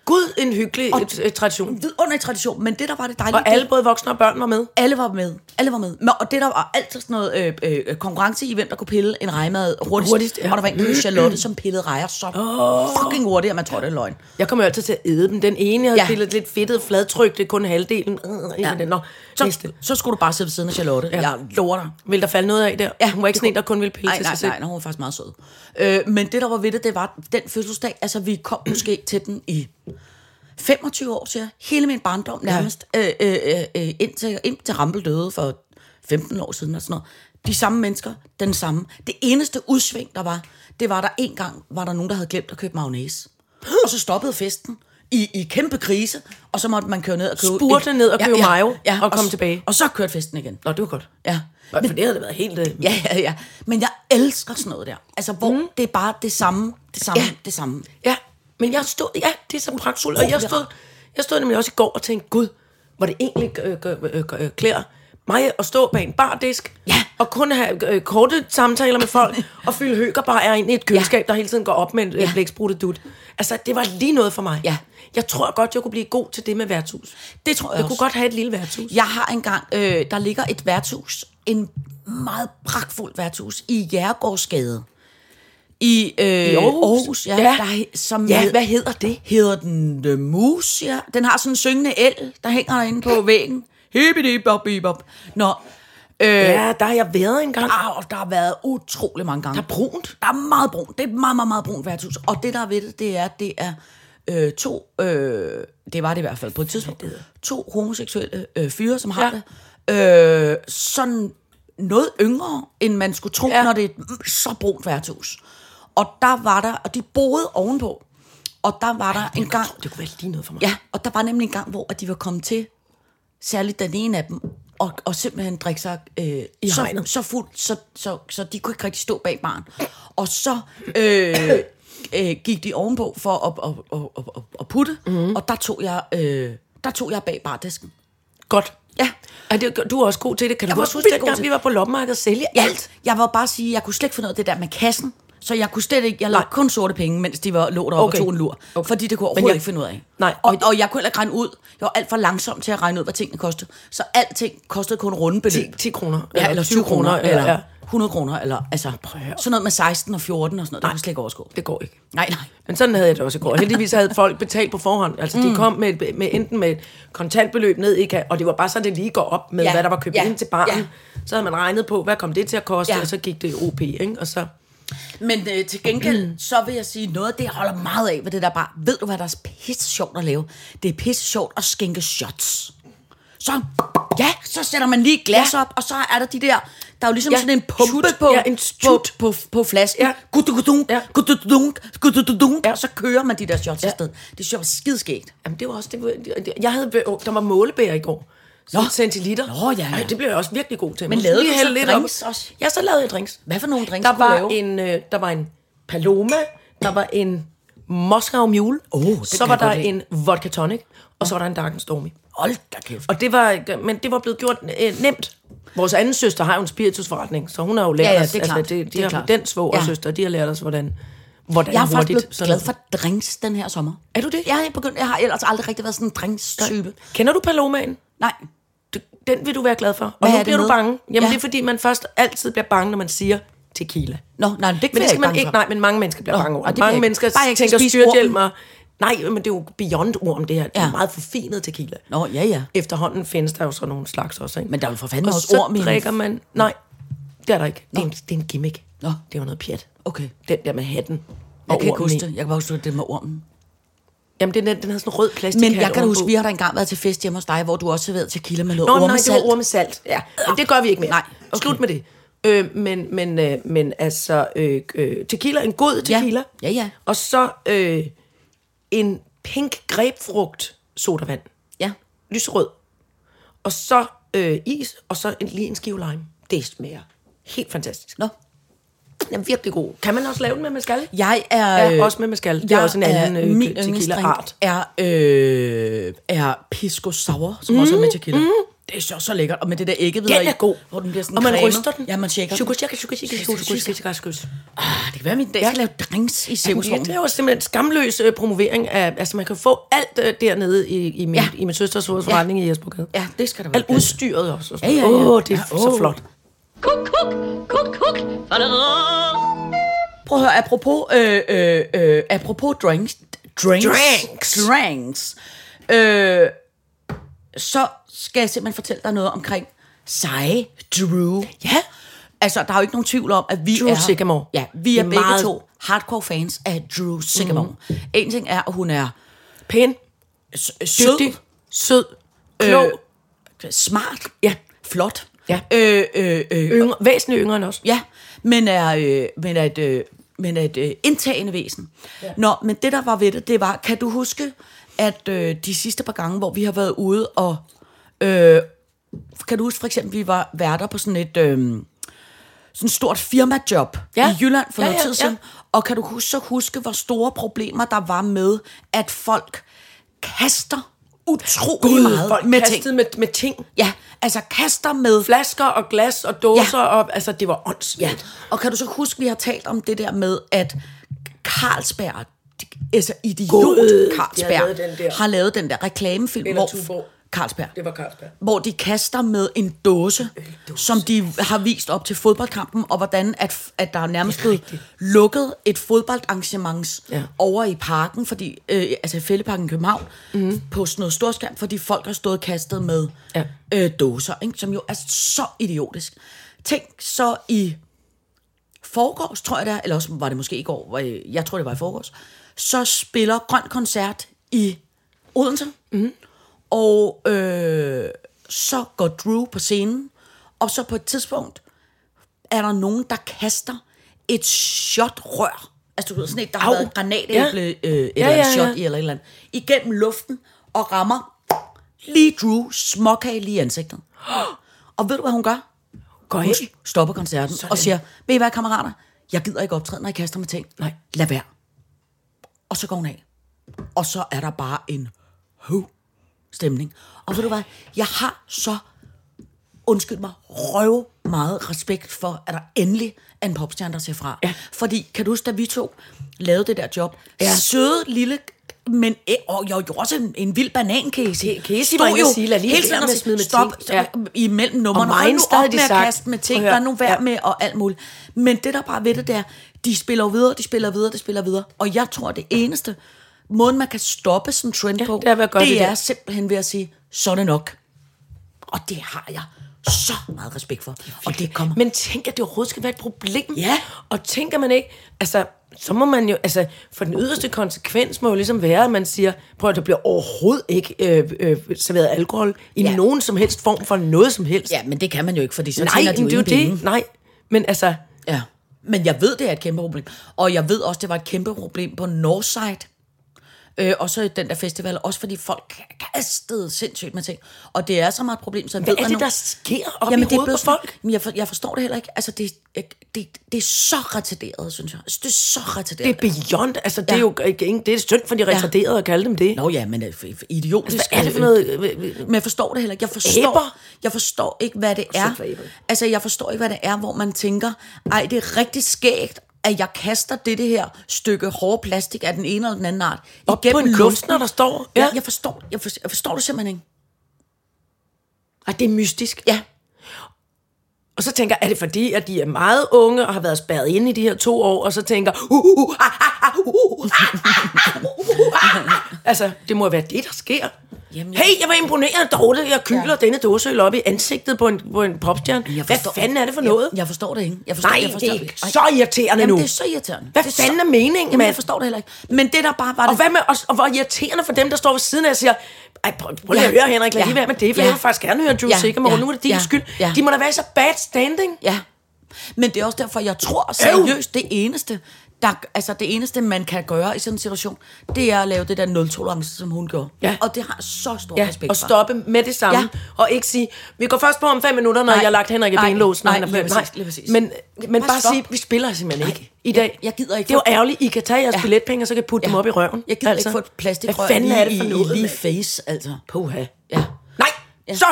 Speaker 3: Gud, en hyggelig øh, øh, tradition.
Speaker 4: Vidunderlig tradition, men det der var det dejlige...
Speaker 3: Og alle, både voksne og børn, var med.
Speaker 4: Alle var med. Alle var med. Nå, Og det der var altid sådan noget øh, øh, konkurrence i, hvem der kunne pille en rejmad hurtigst.
Speaker 3: Hurtigst, ja.
Speaker 4: Og der var en, der hed Charlotte, som pillede rejer så oh. fucking hurtigt, at man tror, det er løgn.
Speaker 3: Jeg kommer jo altid til at æde dem. Den ene havde
Speaker 4: Ja.
Speaker 3: ja. pillet lidt fedtet fladtryk, det er kun halvdelen. Øh, ja. Nå,
Speaker 4: Så,
Speaker 3: Næste.
Speaker 4: så skulle du bare sidde ved siden af Charlotte. Ja. Jeg lover dig.
Speaker 3: Vil der falde noget af der? Ja, hun var ikke sådan en, der kun ville pille
Speaker 4: Nej,
Speaker 3: til
Speaker 4: nej,
Speaker 3: sig selv.
Speaker 4: nej, nej, hun var faktisk meget sød. Øh, men det, der var ved det, det var den fødselsdag, altså vi kom måske til den i 25 år, siger jeg. Hele min barndom nærmest, ja. øh, øh, øh, øh, indtil, indtil Rambel døde for 15 år siden og sådan noget. De samme mennesker, den samme. Det eneste udsving, der var, det var, der en gang var der nogen, der havde glemt at købe mayonnaise. Og så stoppede festen i, i kæmpe krise, og så måtte man køre ned og købe...
Speaker 3: Spurte ned og købe mayo og komme
Speaker 4: s-
Speaker 3: tilbage.
Speaker 4: Og så kørte festen igen.
Speaker 3: Nå, det var godt.
Speaker 4: Ja.
Speaker 3: Men, for det havde da været helt... Øh,
Speaker 4: Ja, ja, ja. Men jeg elsker sådan noget der. Altså, hvor mm. det er bare det samme, det samme,
Speaker 3: Ja.
Speaker 4: ja. det samme.
Speaker 3: Ja, men jeg stod, ja, det er så pragtfuldt, og jeg stod, jeg stod nemlig også i går og tænkte, gud, hvor det egentlig øh, øh, øh, øh, klæder mig at stå bag en bardisk,
Speaker 4: Ja.
Speaker 3: og kun have øh, korte samtaler med folk, og fylde høgerbarer ind i et køleskab, ja. der hele tiden går op med en ja.
Speaker 4: Ja.
Speaker 3: blækspruttet dut. Altså, det var lige noget for mig.
Speaker 4: Ja.
Speaker 3: Jeg tror godt, jeg kunne blive god til det med værtshus.
Speaker 4: Det tror jeg
Speaker 3: Jeg
Speaker 4: også.
Speaker 3: kunne godt have et lille værtshus.
Speaker 4: Jeg har engang, øh, der ligger et værtshus, en meget pragtfuldt værtshus, i Jægergårdsgade. I, øh, I
Speaker 3: Aarhus?
Speaker 4: Aarhus ja,
Speaker 3: Ja.
Speaker 4: ja. Der, he- som
Speaker 3: Ja, hvad hedder det?
Speaker 4: Hedder den The Moose, ja. Den har sådan en syngende el, der hænger derinde på væggen. Hippidibobibop. Nå, øh,
Speaker 3: Ja, der har jeg været engang.
Speaker 4: Ah, og der har været utrolig mange gange.
Speaker 3: Der er brunt.
Speaker 4: Der er meget brunt. Det er et meget, meget, meget brunt værtshus. Og det, der er ved det, det er, det er øh, to... Øh, det var det i hvert fald på et tidspunkt. To homoseksuelle øh, fyre, som har
Speaker 3: Ja.
Speaker 4: det. Øh, sådan noget yngre, end man skulle tro,
Speaker 3: Ja.
Speaker 4: ja. når det er et mm, så brunt værtshus. Og der var der... Og de boede ovenpå. Og der var der en gang...
Speaker 3: Det kunne være lige noget for mig.
Speaker 4: Ja, og der var nemlig en gang, hvor at de var kommet til, særligt den ene af dem, og, og simpelthen drikke sig øh, I så,
Speaker 3: hegnet.
Speaker 4: så fuld, så, så, så de kunne ikke rigtig stå bag barn. Og så øh, øh, gik de ovenpå for at, at, at, at, at putte, mm-hmm. og der tog jeg... Øh, der tog jeg bag bardisken.
Speaker 3: Godt.
Speaker 4: Ja.
Speaker 3: Er det, du er også god til det. Kan du
Speaker 4: var
Speaker 3: også huske,
Speaker 4: vildt god
Speaker 3: dengang
Speaker 4: til-
Speaker 3: vi var på loppemarkedet og sælge
Speaker 4: Ja,
Speaker 3: alt?
Speaker 4: jeg var bare sige, jeg kunne slet ikke finde ud af det der med kassen. Så jeg kunne slet ikke, jeg lavede kun sorte penge, mens de var, lå deroppe
Speaker 3: Okay.
Speaker 4: okay. og tog en lur.
Speaker 3: Okay.
Speaker 4: Okay. Fordi det kunne jeg
Speaker 3: Men jeg-
Speaker 4: overhovedet jeg, ikke finde ud af.
Speaker 3: Nej,
Speaker 4: Og,
Speaker 3: men-
Speaker 4: og, jeg kunne heller ikke regne ud. Jeg var alt for langsom til at regne ud, hvad tingene kostede. Så alting kostede kun runde beløb.
Speaker 3: 10 kroner,
Speaker 4: Ja, eller 20 kroner, eller
Speaker 3: ja.
Speaker 4: 100 kroner, eller altså,
Speaker 3: Prøv at høre.
Speaker 4: sådan noget med 16 og 14 og sådan noget, det kunne jeg slet ikke overskue.
Speaker 3: Det går ikke.
Speaker 4: Nej, nej.
Speaker 3: Men sådan havde jeg det også i går. Heldigvis havde folk betalt på forhånd. Altså,
Speaker 4: Mm.
Speaker 3: de kom med, med enten med et kontantbeløb ned, ikke? og det var bare sådan, det lige går op med, ja.
Speaker 4: Ja,
Speaker 3: hvad der var købt ja.
Speaker 4: ja,
Speaker 3: ind til barnet. Ja.
Speaker 4: ja.
Speaker 3: Så havde man regnet på, hvad kom det til at koste, ja.
Speaker 4: Ja.
Speaker 3: og så gik det OP, ikke? Og så,
Speaker 4: Men øh, til gengæld, så vil jeg sige, noget af det, jeg holder meget af ved det der bare, ved du hvad, der er pisse sjovt at lave? Det er pisse sjovt at skænke shots. Så, ja, så sætter man lige et glas
Speaker 3: Ja.
Speaker 4: ja. op, og så er der de der, der er jo ligesom
Speaker 3: Ja,
Speaker 4: ja, sådan en pumpe
Speaker 3: tut.
Speaker 4: på,
Speaker 3: Ja, en
Speaker 4: på,
Speaker 3: tut.
Speaker 4: på, på flasken.
Speaker 3: Ja.
Speaker 4: Ja. Gudududunk,
Speaker 3: Ja.
Speaker 4: ja. gudududunk, gudududunk,
Speaker 3: Ja.
Speaker 4: ja. og så kører man de der shots
Speaker 3: Ja.
Speaker 4: ja. afsted. Det synes jeg var skidskægt.
Speaker 3: jamen det var også, det var, det- jeg havde, der var målebær i går. Så
Speaker 4: Nå.
Speaker 3: centiliter.
Speaker 4: Nå, ja, ja.
Speaker 3: Ej, det blev jeg også virkelig god til.
Speaker 4: Men
Speaker 3: Man
Speaker 4: lavede
Speaker 3: lige
Speaker 4: du så
Speaker 3: hælde lidt
Speaker 4: drinks
Speaker 3: op.
Speaker 4: også?
Speaker 3: Ja, så lavede jeg drinks.
Speaker 4: Hvad for nogle drinks
Speaker 3: Der
Speaker 4: skulle du
Speaker 3: var,
Speaker 4: lave?
Speaker 3: en, øh, der var en paloma, der var en Moscow Mule,
Speaker 4: det
Speaker 3: så
Speaker 4: kan
Speaker 3: var
Speaker 4: jeg
Speaker 3: der
Speaker 4: godt lide.
Speaker 3: en vodka tonic, og så var der en Dark and Stormy.
Speaker 4: Hold da kæft.
Speaker 3: Og det var, men det var blevet gjort øh, nemt. Vores anden søster har jo en spiritusforretning, så hun har jo lært
Speaker 4: Ja, ja,
Speaker 3: os, altså,
Speaker 4: det er klart.
Speaker 3: de, de
Speaker 4: Det er
Speaker 3: har,
Speaker 4: klart.
Speaker 3: den svoger
Speaker 4: Ja.
Speaker 3: søster, de har lært os, hvordan, hvordan
Speaker 4: Jeg er faktisk
Speaker 3: hurtigt.
Speaker 4: blevet glad for drinks den her sommer.
Speaker 3: Er du det?
Speaker 4: Ja, jeg, begyndte, jeg har ellers aldrig rigtig været sådan en drinks-type.
Speaker 3: Kender du palomaen?
Speaker 4: Nej.
Speaker 3: Du- Den vil du være glad for. Og
Speaker 4: Hvad
Speaker 3: nu
Speaker 4: er det
Speaker 3: bliver du
Speaker 4: med?
Speaker 3: bange. Jamen,
Speaker 4: Ja.
Speaker 3: det er fordi, man først altid bliver bange, når man siger tequila.
Speaker 4: Nå, nej, det kan
Speaker 3: Men
Speaker 4: jeg
Speaker 3: det skal
Speaker 4: ikke
Speaker 3: man
Speaker 4: bange
Speaker 3: ikke,
Speaker 4: for.
Speaker 3: nej, men mange mennesker bliver
Speaker 4: Nå,
Speaker 3: bange over
Speaker 4: og
Speaker 3: det.
Speaker 4: det kan
Speaker 3: Mange
Speaker 4: jeg
Speaker 3: mennesker
Speaker 4: ikke. Bare jeg kan
Speaker 3: tænker
Speaker 4: spise
Speaker 3: styrthjelm og... Nej, men det er jo beyond orm, det her. Det er
Speaker 4: Ja.
Speaker 3: meget forfinet tequila.
Speaker 4: Nå, ja, ja.
Speaker 3: Efterhånden findes der jo så nogle slags også, ikke?
Speaker 4: Men der er jo for fanden
Speaker 3: og
Speaker 4: også
Speaker 3: så
Speaker 4: orm i en-
Speaker 3: drikker man... Nej, det er der ikke. Det er, en, det er en gimmick.
Speaker 4: Nå.
Speaker 3: Det er jo noget pjat.
Speaker 4: Okay.
Speaker 3: Den der med hatten
Speaker 4: Jeg
Speaker 3: og
Speaker 4: kan ikke
Speaker 3: ormen i.
Speaker 4: huske det. Jeg kan bare huske det med ormen.
Speaker 3: Jamen, den, den, den havde sådan en rød plastik
Speaker 4: Men jeg kan da huske, vi har da engang været til fest hjemme hos dig, hvor du også serverede tequila med noget
Speaker 3: Nå, nej, det
Speaker 4: ormesalt.
Speaker 3: var ormesalt. Ja, men det gør vi ikke mere.
Speaker 4: Nej,
Speaker 3: okay. Slut med det. Øh, men, men, øh, men altså, øh, øh, tequila, en god tequila.
Speaker 4: Ja, ja.
Speaker 3: Og så øh, en pink grebfrugt sodavand.
Speaker 4: Ja,
Speaker 3: Lysrød. Og så øh, is, og så en, lige en skive lime. Det smager helt fantastisk.
Speaker 4: nå.
Speaker 3: Den er virkelig god. Kan man også lave den med mascal?
Speaker 4: Jeg er...
Speaker 3: Ja,
Speaker 4: øh,
Speaker 3: også med mascal. Det er
Speaker 4: jeg
Speaker 3: også en anden, øh,
Speaker 4: min
Speaker 3: tequila-art.
Speaker 4: yndlingsdrink er, øh, er pisco sour, som mm, også er med tequila. Mm. Det er så, så lækkert. Og med det der æggehvidere
Speaker 3: Den er god.
Speaker 4: Hvor den bliver sådan
Speaker 3: og man
Speaker 4: cremet.
Speaker 3: ryster den.
Speaker 4: Ja, man shaker den.
Speaker 3: Shukus, shukus, shukus, shukus, shukus, shukus, shukus, shukus.
Speaker 4: Ah, det kan være, min dag skal lave drinks i
Speaker 3: Jamen, det,
Speaker 4: cirkusvognen.
Speaker 3: det er jo simpelthen skamløs øh, promovering af, altså man kan få alt øh, dernede i, i, min, ja.
Speaker 4: Ja.
Speaker 3: i min søsters hoveds forretning ja. i Jespergade.
Speaker 4: Ja, det skal der være
Speaker 3: Alt
Speaker 4: plads til.
Speaker 3: udstyret også.
Speaker 4: Ja, ja, ja.
Speaker 3: Åh, det er
Speaker 4: Ja,
Speaker 3: ja, så
Speaker 4: åh.
Speaker 3: flot.
Speaker 2: Kuk, kuk, kuk, kuk.
Speaker 4: Prøv at høre, apropos, øh, øh, øh, apropos drinks, drinks,
Speaker 3: Drinks.
Speaker 4: drinks øh, så skal jeg simpelthen fortælle dig noget omkring seje Drew.
Speaker 3: Ja.
Speaker 4: Altså, der er jo ikke nogen tvivl om, at vi
Speaker 3: Drew
Speaker 4: er...
Speaker 3: Sycamore.
Speaker 4: Ja, vi er,
Speaker 3: Vi er
Speaker 4: begge
Speaker 3: meget-
Speaker 4: to hardcore fans af Drew Sycamore. Mm. En ting er, at hun er
Speaker 3: Pæn,
Speaker 4: s-
Speaker 3: dygtig,
Speaker 4: sød,
Speaker 3: sød, klog, øh,
Speaker 4: smart,
Speaker 3: ja,
Speaker 4: flot.
Speaker 3: Ja.
Speaker 4: Øh, øh, øh,
Speaker 3: yngre, væsentligt yngre end os.
Speaker 4: Ja, men er, øh, men er et, øh, men er et øh, indtagende væsen. Ja. Nå, men det der var ved det, det var, kan du huske, at øh, de sidste par gange, hvor vi har været ude og... Øh, kan du huske for eksempel, vi var værter på sådan et... Øh, sådan et stort firmajob
Speaker 3: Ja.
Speaker 4: i Jylland for
Speaker 3: Ja,
Speaker 4: ja, noget
Speaker 3: ja,
Speaker 4: tid
Speaker 3: ja.
Speaker 4: siden. Og kan du huske, så huske, hvor store problemer der var med, at folk kaster utrolig meget
Speaker 3: folk
Speaker 4: med
Speaker 3: kastede
Speaker 4: ting.
Speaker 3: Med, med ting.
Speaker 4: Ja, altså kaster med
Speaker 3: Flasker og glas og dåser, ja. og, altså det var åndssvagt.
Speaker 4: Ja, og kan du så huske, vi har talt om det der med, at Carlsberg, de- altså idiot
Speaker 3: God, de har
Speaker 4: Carlsberg,
Speaker 3: lavet den der.
Speaker 4: har lavet den der reklamefilm,
Speaker 3: Eller
Speaker 4: hvor
Speaker 3: Tuborg.
Speaker 4: Carlsberg,
Speaker 3: Det var Carlsberg.
Speaker 4: hvor de kaster med en Øh, dåse, som de har vist op til fodboldkampen, og hvordan at, at der er nærmest blevet lukket et fodboldarrangement
Speaker 3: Ja.
Speaker 4: ja. over i parken, fordi, øh, altså i Fælleparken i København, mm. på sådan noget storskærm, fordi folk har stået kastet med
Speaker 3: Ja.
Speaker 4: ja. øh, dåser, ikke? som jo er så idiotisk. Tænk så i forgårs, tror jeg det er, eller også var det måske i går, hvor, øh, jeg tror det var i forgårs, så spiller Grøn Koncert i Odense, mm. og øh, så går Drew på scenen, og så på et tidspunkt er der nogen, der kaster et shotrør, altså du ved, sådan et, der har
Speaker 3: Au.
Speaker 4: været granatæble,
Speaker 3: Ja.
Speaker 4: ja. øh, et
Speaker 3: Ja,
Speaker 4: eller andet
Speaker 3: ja,
Speaker 4: shot
Speaker 3: ja.
Speaker 4: i, eller et eller andet, igennem luften, og rammer lige Drew småkage lige i ansigtet. Og ved du, hvad hun gør?
Speaker 3: Går
Speaker 4: Hun
Speaker 3: af.
Speaker 4: stopper koncerten Sådan. og siger, ved I hvad, kammerater? Jeg gider ikke optræde, når I kaster med ting.
Speaker 3: Nej.
Speaker 4: Lad være. Og så går hun af. Og så er der bare en høv stemning. Og ved du hvad, jeg har så, undskyld mig, røv meget respekt for, at der endelig er en popstjerne, der ser fra.
Speaker 3: Ja.
Speaker 4: Fordi, kan du huske, da vi to lavede det der job?
Speaker 3: Ja.
Speaker 4: Søde lille men øh, og jeg var jo også en, en vild banankæse.
Speaker 3: Det- Casey var inde at sige, lad lige være med at smide med
Speaker 4: stop,
Speaker 3: ting." Ja.
Speaker 4: imellem numrene
Speaker 3: Og
Speaker 4: og
Speaker 3: mine
Speaker 4: mig nu
Speaker 3: stadig
Speaker 4: op med at
Speaker 3: sagt.
Speaker 4: kaste med ting,
Speaker 3: Prøv at høre.
Speaker 4: der er nu værd
Speaker 3: Ja.
Speaker 4: ja. med og alt muligt. Men det der bare er ved det der, de spiller jo videre, de spiller videre, de spiller videre. Og jeg tror, det eneste måden, man kan stoppe sådan en trend
Speaker 3: Ja,
Speaker 4: på,
Speaker 3: det er ved at gøre det
Speaker 4: det
Speaker 3: der.
Speaker 4: er simpelthen ved at sige, så er det nok. Og det har jeg så meget respekt for. og det kommer.
Speaker 3: Men tænk, at det overhovedet skal være et problem.
Speaker 4: Ja.
Speaker 3: Og tænker man ikke, altså, så må man jo, altså, for den yderste konsekvens må jo ligesom være, at man siger, prøv at der bliver overhovedet ikke øh, øh, serveret alkohol i ja.
Speaker 4: Ja.
Speaker 3: nogen som helst form for noget som helst.
Speaker 4: Ja, men det kan man jo ikke, fordi så
Speaker 3: Nej,
Speaker 4: tjener de
Speaker 3: men
Speaker 4: jo
Speaker 3: det er jo
Speaker 4: ingen penge.
Speaker 3: det. Nej, men altså,
Speaker 4: Ja. Men jeg ved, det er et kæmpe problem. Og jeg ved også, det var et kæmpe problem på Northside. Øh, og så den der festival, også fordi folk kastede sindssygt med ting. Og det er så meget et problem, så jeg
Speaker 3: hvad
Speaker 4: ved,
Speaker 3: er
Speaker 4: at
Speaker 3: det,
Speaker 4: nu-
Speaker 3: der sker op
Speaker 4: Jamen,
Speaker 3: i
Speaker 4: det er
Speaker 3: hovedet på
Speaker 4: blevet sådan-
Speaker 3: folk?
Speaker 4: Jamen, jeg, for, jeg forstår det heller ikke. Altså, det, det, det er så retarderet, synes jeg. Altså, Det er så retarderet.
Speaker 3: Det er beyond, altså, det er
Speaker 4: Ja.
Speaker 3: jo ikke, det er synd for de retarderede at kalde dem det. Altså,
Speaker 4: Nå ja, men øh, f- f- idiotisk.
Speaker 3: Hvad er det for
Speaker 4: øh,
Speaker 3: noget? øh, øh, øh,
Speaker 4: Men jeg forstår det heller ikke. Jeg forstår,
Speaker 3: Æber?
Speaker 4: jeg forstår ikke, hvad det er.
Speaker 3: for æber.
Speaker 4: Altså, jeg forstår ikke, hvad det er, hvor man tænker, ej, det er rigtig skægt, at jeg kaster det, det her stykke hård plastik af den ene eller den anden art.
Speaker 3: Op på en kunstner, der står.
Speaker 4: Ja.
Speaker 3: Ja.
Speaker 4: ja jeg, forstår, jeg, forstår, jeg forstår det simpelthen ikke.
Speaker 3: Ej, det er mystisk.
Speaker 4: Ja.
Speaker 3: Og så tænker jeg, er det fordi, at de er meget unge og har været spærret inde i de her to år, og så tænker, uh, uh, uh, ah, ah, ah, uh, uh, ah, ah, uh, uh, ah, ah. altså, det må være det, der sker.
Speaker 4: Jamen, jeg-
Speaker 3: Hey, jeg var imponeret, Dorte, jeg kyler ja. denne dåseøl op i ansigtet på en, på en popstjerne.
Speaker 4: Jeg
Speaker 3: Hvad
Speaker 4: forstår,
Speaker 3: fanden er det for noget?
Speaker 4: Jeg, jeg forstår det ikke. Jeg forstår,
Speaker 3: Nej,
Speaker 4: jeg forstår
Speaker 3: det er
Speaker 4: Ej.
Speaker 3: så irriterende
Speaker 4: Jamen,
Speaker 3: nu.
Speaker 4: det er så irriterende.
Speaker 3: Hvad
Speaker 4: det er
Speaker 3: fanden
Speaker 4: så...
Speaker 3: er meningen,
Speaker 4: Jamen,
Speaker 3: mand?
Speaker 4: jeg forstår det heller ikke. Men det, der bare var
Speaker 3: Og hvad med, og, og hvor irriterende for dem, der står ved siden af og siger, ej, prøv, prøv lige at
Speaker 4: Ja.
Speaker 3: høre, Henrik, lad
Speaker 4: Ja.
Speaker 3: lige være med det, for
Speaker 4: Ja.
Speaker 3: jeg vil faktisk gerne høre Drew
Speaker 4: Ja.
Speaker 3: Sigamore,
Speaker 4: Ja.
Speaker 3: nu er det din
Speaker 4: Ja.
Speaker 3: skyld.
Speaker 4: Ja.
Speaker 3: De må da være i så bad standing.
Speaker 4: Ja, men det er også derfor, jeg tror seriøst, det eneste, der, altså det eneste, man kan gøre i sådan en situation, det er at lave det der nul-tolerance, som hun gjorde.
Speaker 3: Ja.
Speaker 4: Og det har jeg så stor
Speaker 3: Ja,
Speaker 4: respekt
Speaker 3: og
Speaker 4: for.
Speaker 3: stoppe med det samme. Ja.
Speaker 4: Ja.
Speaker 3: Og ikke sige, vi går først på om fem minutter, når
Speaker 4: Nej.
Speaker 3: jeg har lagt Henrik i
Speaker 4: Nej.
Speaker 3: benlås. når
Speaker 4: Nej,
Speaker 3: han er
Speaker 4: lige
Speaker 3: blevet-
Speaker 4: præcis, lige præcis.
Speaker 3: Men, men bare,
Speaker 4: Bare stop.
Speaker 3: sige, vi spiller simpelthen
Speaker 4: Nej.
Speaker 3: ikke i dag.
Speaker 4: Jeg- jeg gider ikke
Speaker 3: Det er
Speaker 4: få-
Speaker 3: jo ærgerligt, I kan tage jeres ja.
Speaker 4: Ja.
Speaker 3: billetpenge, og så kan I putte ja. dem op i røven.
Speaker 4: Jeg gider altså. ikke få et plastikrør
Speaker 3: Hvad fanden
Speaker 4: lige,
Speaker 3: er det for noget?
Speaker 4: i, lige
Speaker 3: mand?
Speaker 4: face, altså.
Speaker 3: Puha.
Speaker 4: Ja.
Speaker 3: Nej, ja.
Speaker 4: Ja.
Speaker 3: så!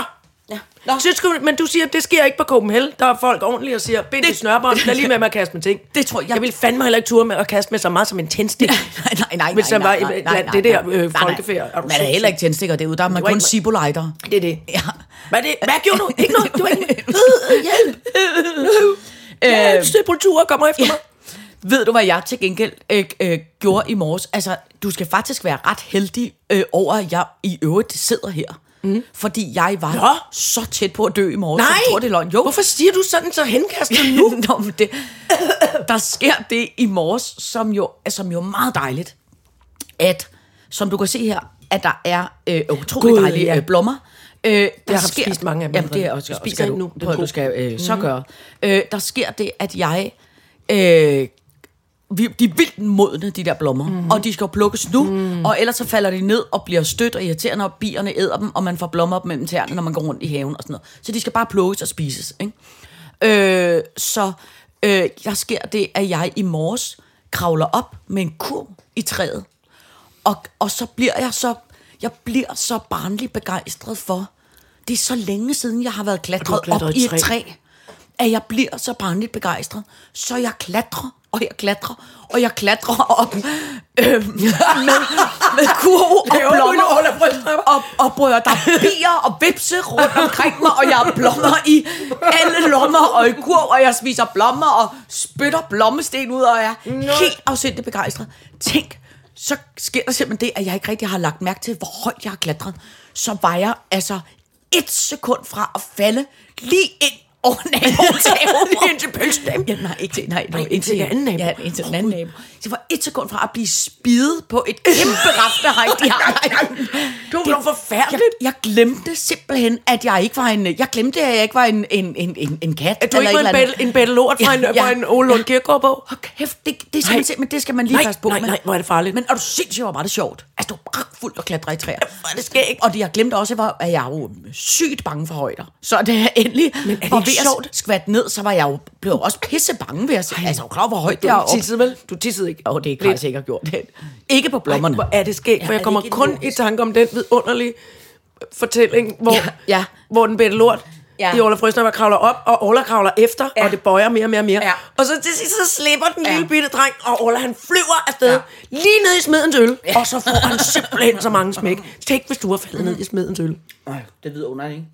Speaker 4: Ja.
Speaker 3: Nå. Synes, du- men du siger, at det sker ikke på Copenhagen. Der er folk ordentligt og siger, bind det snørbånd, lad lige med med at kaste med ting.
Speaker 4: Det tror jeg-
Speaker 3: Jeg vil fandme heller ikke ture med at kaste med så meget som en tændstik.
Speaker 4: Nej, nej, nej,
Speaker 3: Hvis
Speaker 4: nej,
Speaker 3: der var i-
Speaker 4: nej, nej, nej,
Speaker 3: blandt
Speaker 4: nej,
Speaker 3: det
Speaker 4: nej.
Speaker 3: der, øh,
Speaker 4: Nej, nej.
Speaker 3: folkefærd. Er du
Speaker 4: Man er heller ikke tændstikker derude, der er man
Speaker 3: var
Speaker 4: kun
Speaker 3: ikke-
Speaker 4: sibolejter.
Speaker 3: Det er det.
Speaker 4: Ja.
Speaker 3: Hvad, er det? Hvad gjorde du? Ikke noget? Det var ikke...
Speaker 4: Hjælp!
Speaker 3: Øh, Sepultura kommer efter mig.
Speaker 4: Øhm. Ved du, hvad jeg til gengæld øh, øh, gjorde i morges? Altså, du skal faktisk være ret heldig øh, over, at jeg i øvrigt sidder her. Mm. Fordi jeg var
Speaker 3: Nå.
Speaker 4: så tæt på at dø i morges.
Speaker 3: Nej.
Speaker 4: Jeg tror, det er løgn. Jo.
Speaker 3: Hvorfor siger du sådan så henkastet nu?
Speaker 4: Nå, men det, der sker det i morges, som jo, altså, som jo er meget dejligt, at, som du kan se her, at der er øh, utrolig
Speaker 3: Gud,
Speaker 4: God, dejlige
Speaker 3: ja.
Speaker 4: ja. blommer. Øh, der
Speaker 3: Jeg har spist mange af dem
Speaker 4: Jamen, det er
Speaker 3: allerede.
Speaker 4: også,
Speaker 3: Jeg
Speaker 4: jeg
Speaker 3: spiser
Speaker 4: spiser
Speaker 3: en
Speaker 4: nu.
Speaker 3: nu. Mhm. Den er
Speaker 4: du
Speaker 3: god.
Speaker 4: skal øh, så gøre. Øh, der sker det, at jeg... Øh, vi, de er vildt modne, de der blommer.
Speaker 3: Mhm.
Speaker 4: Mm-hmm. Og de skal jo plukkes nu, mm. og ellers så falder de ned og bliver stødt og irriterende, og bierne æder dem, og man får blommer op mellem tæerne, når man går rundt i haven og sådan noget. Så de skal bare plukkes og spises. Ikke? Øh, så øh, der sker det, at jeg i morges kravler op med en kurv i træet, og, og så bliver jeg så, jeg bliver så barnlig begejstret for, det er så længe siden, jeg har været klatret,
Speaker 3: klatret
Speaker 4: op
Speaker 3: i
Speaker 4: i et
Speaker 3: træ.
Speaker 4: træ træ, at jeg bliver så barnligt begejstret, så jeg klatrer, og jeg klatrer, og jeg klatrer op øhm, med, med kurv og
Speaker 3: Laver
Speaker 4: blommer
Speaker 3: du en Ola Brøndstrøm?
Speaker 4: og, og brød, der er bier og vipse rundt omkring mig, og jeg har blommer i alle lommer og i kurv, og jeg spiser blommer og spytter blommesten ud, og jeg er helt afsindigt begejstret. Tænk, så sker der simpelthen det, at jeg ikke rigtig har lagt mærke til, hvor højt jeg har klatret. Så var jeg altså et sekund fra at falde lige ind over naboen.
Speaker 3: Lige ind til pølsedamen.
Speaker 4: Ja, nej, ikke til, nej, nej,
Speaker 3: ind til den anden nabo.
Speaker 4: Ja, ind til den anden nabo. Jeg var et sekund fra at blive spidet på et kæmpe raftehej, de har.
Speaker 3: Det var dog forfærdeligt.
Speaker 4: Jeg, jeg glemte simpelthen, at jeg ikke var en... Jeg glemte, at jeg ikke var en, en, en, en, en kat.
Speaker 3: At du ikke var en, battle, en battlelort fra
Speaker 4: Ja,
Speaker 3: en, ja.
Speaker 4: ja.
Speaker 3: en Ole Lund Kirkegaard-bog?
Speaker 4: Hold kæft, det, det, skal man,
Speaker 3: Nej.
Speaker 4: se, men det skal man lige
Speaker 3: Nej,
Speaker 4: passe på
Speaker 3: nej,
Speaker 4: med.
Speaker 3: nej, hvor er det farligt.
Speaker 4: Men er du sindssygt, hvor var det sjovt. Altså, det var pragtfuldt at klatre i træer.
Speaker 3: er det skægt.
Speaker 4: Og det, jeg glemte også, var, at jeg jo sygt bange for højder. Så det er endelig... Men
Speaker 3: ikke
Speaker 4: var ved at
Speaker 3: sjovt?
Speaker 4: skvat ned, så var jeg jo blevet også pisse bange ved at se. Altså, er du klar, over, hvor højt
Speaker 3: Du
Speaker 4: det er op.
Speaker 3: tissede vel? Du tissede ikke.
Speaker 4: Åh, oh, det er
Speaker 3: Lidt.
Speaker 4: faktisk ikke har gjort det. Ikke på blommerne.
Speaker 3: Hvor er det skægt, for
Speaker 4: Ja,
Speaker 3: jeg
Speaker 4: er
Speaker 3: kommer
Speaker 4: det ikke
Speaker 3: kun i
Speaker 4: idiotisk?
Speaker 3: tanke om den vidunderlige øh, fortælling, hvor,
Speaker 4: Ja, ja.
Speaker 3: hvor den bedte lort ja.
Speaker 4: Ja.
Speaker 3: i Orla Frøsner, kravler op, og Orla kravler efter, ja.
Speaker 4: Ja.
Speaker 3: og det bøjer mere og mere og mere. Ja.
Speaker 4: Ja.
Speaker 3: Og så til sidst, så slipper den ja.
Speaker 4: Ja.
Speaker 3: lille bitte dreng, og Orla han flyver afsted, ja.
Speaker 4: Ja.
Speaker 3: lige ned i smedens øl, ja. og så får han simpelthen så mange smæk. Tænk, hvis du var
Speaker 4: Mm.
Speaker 3: faldet ned i smedens øl.
Speaker 4: Øj, det lyder underligt, ikke?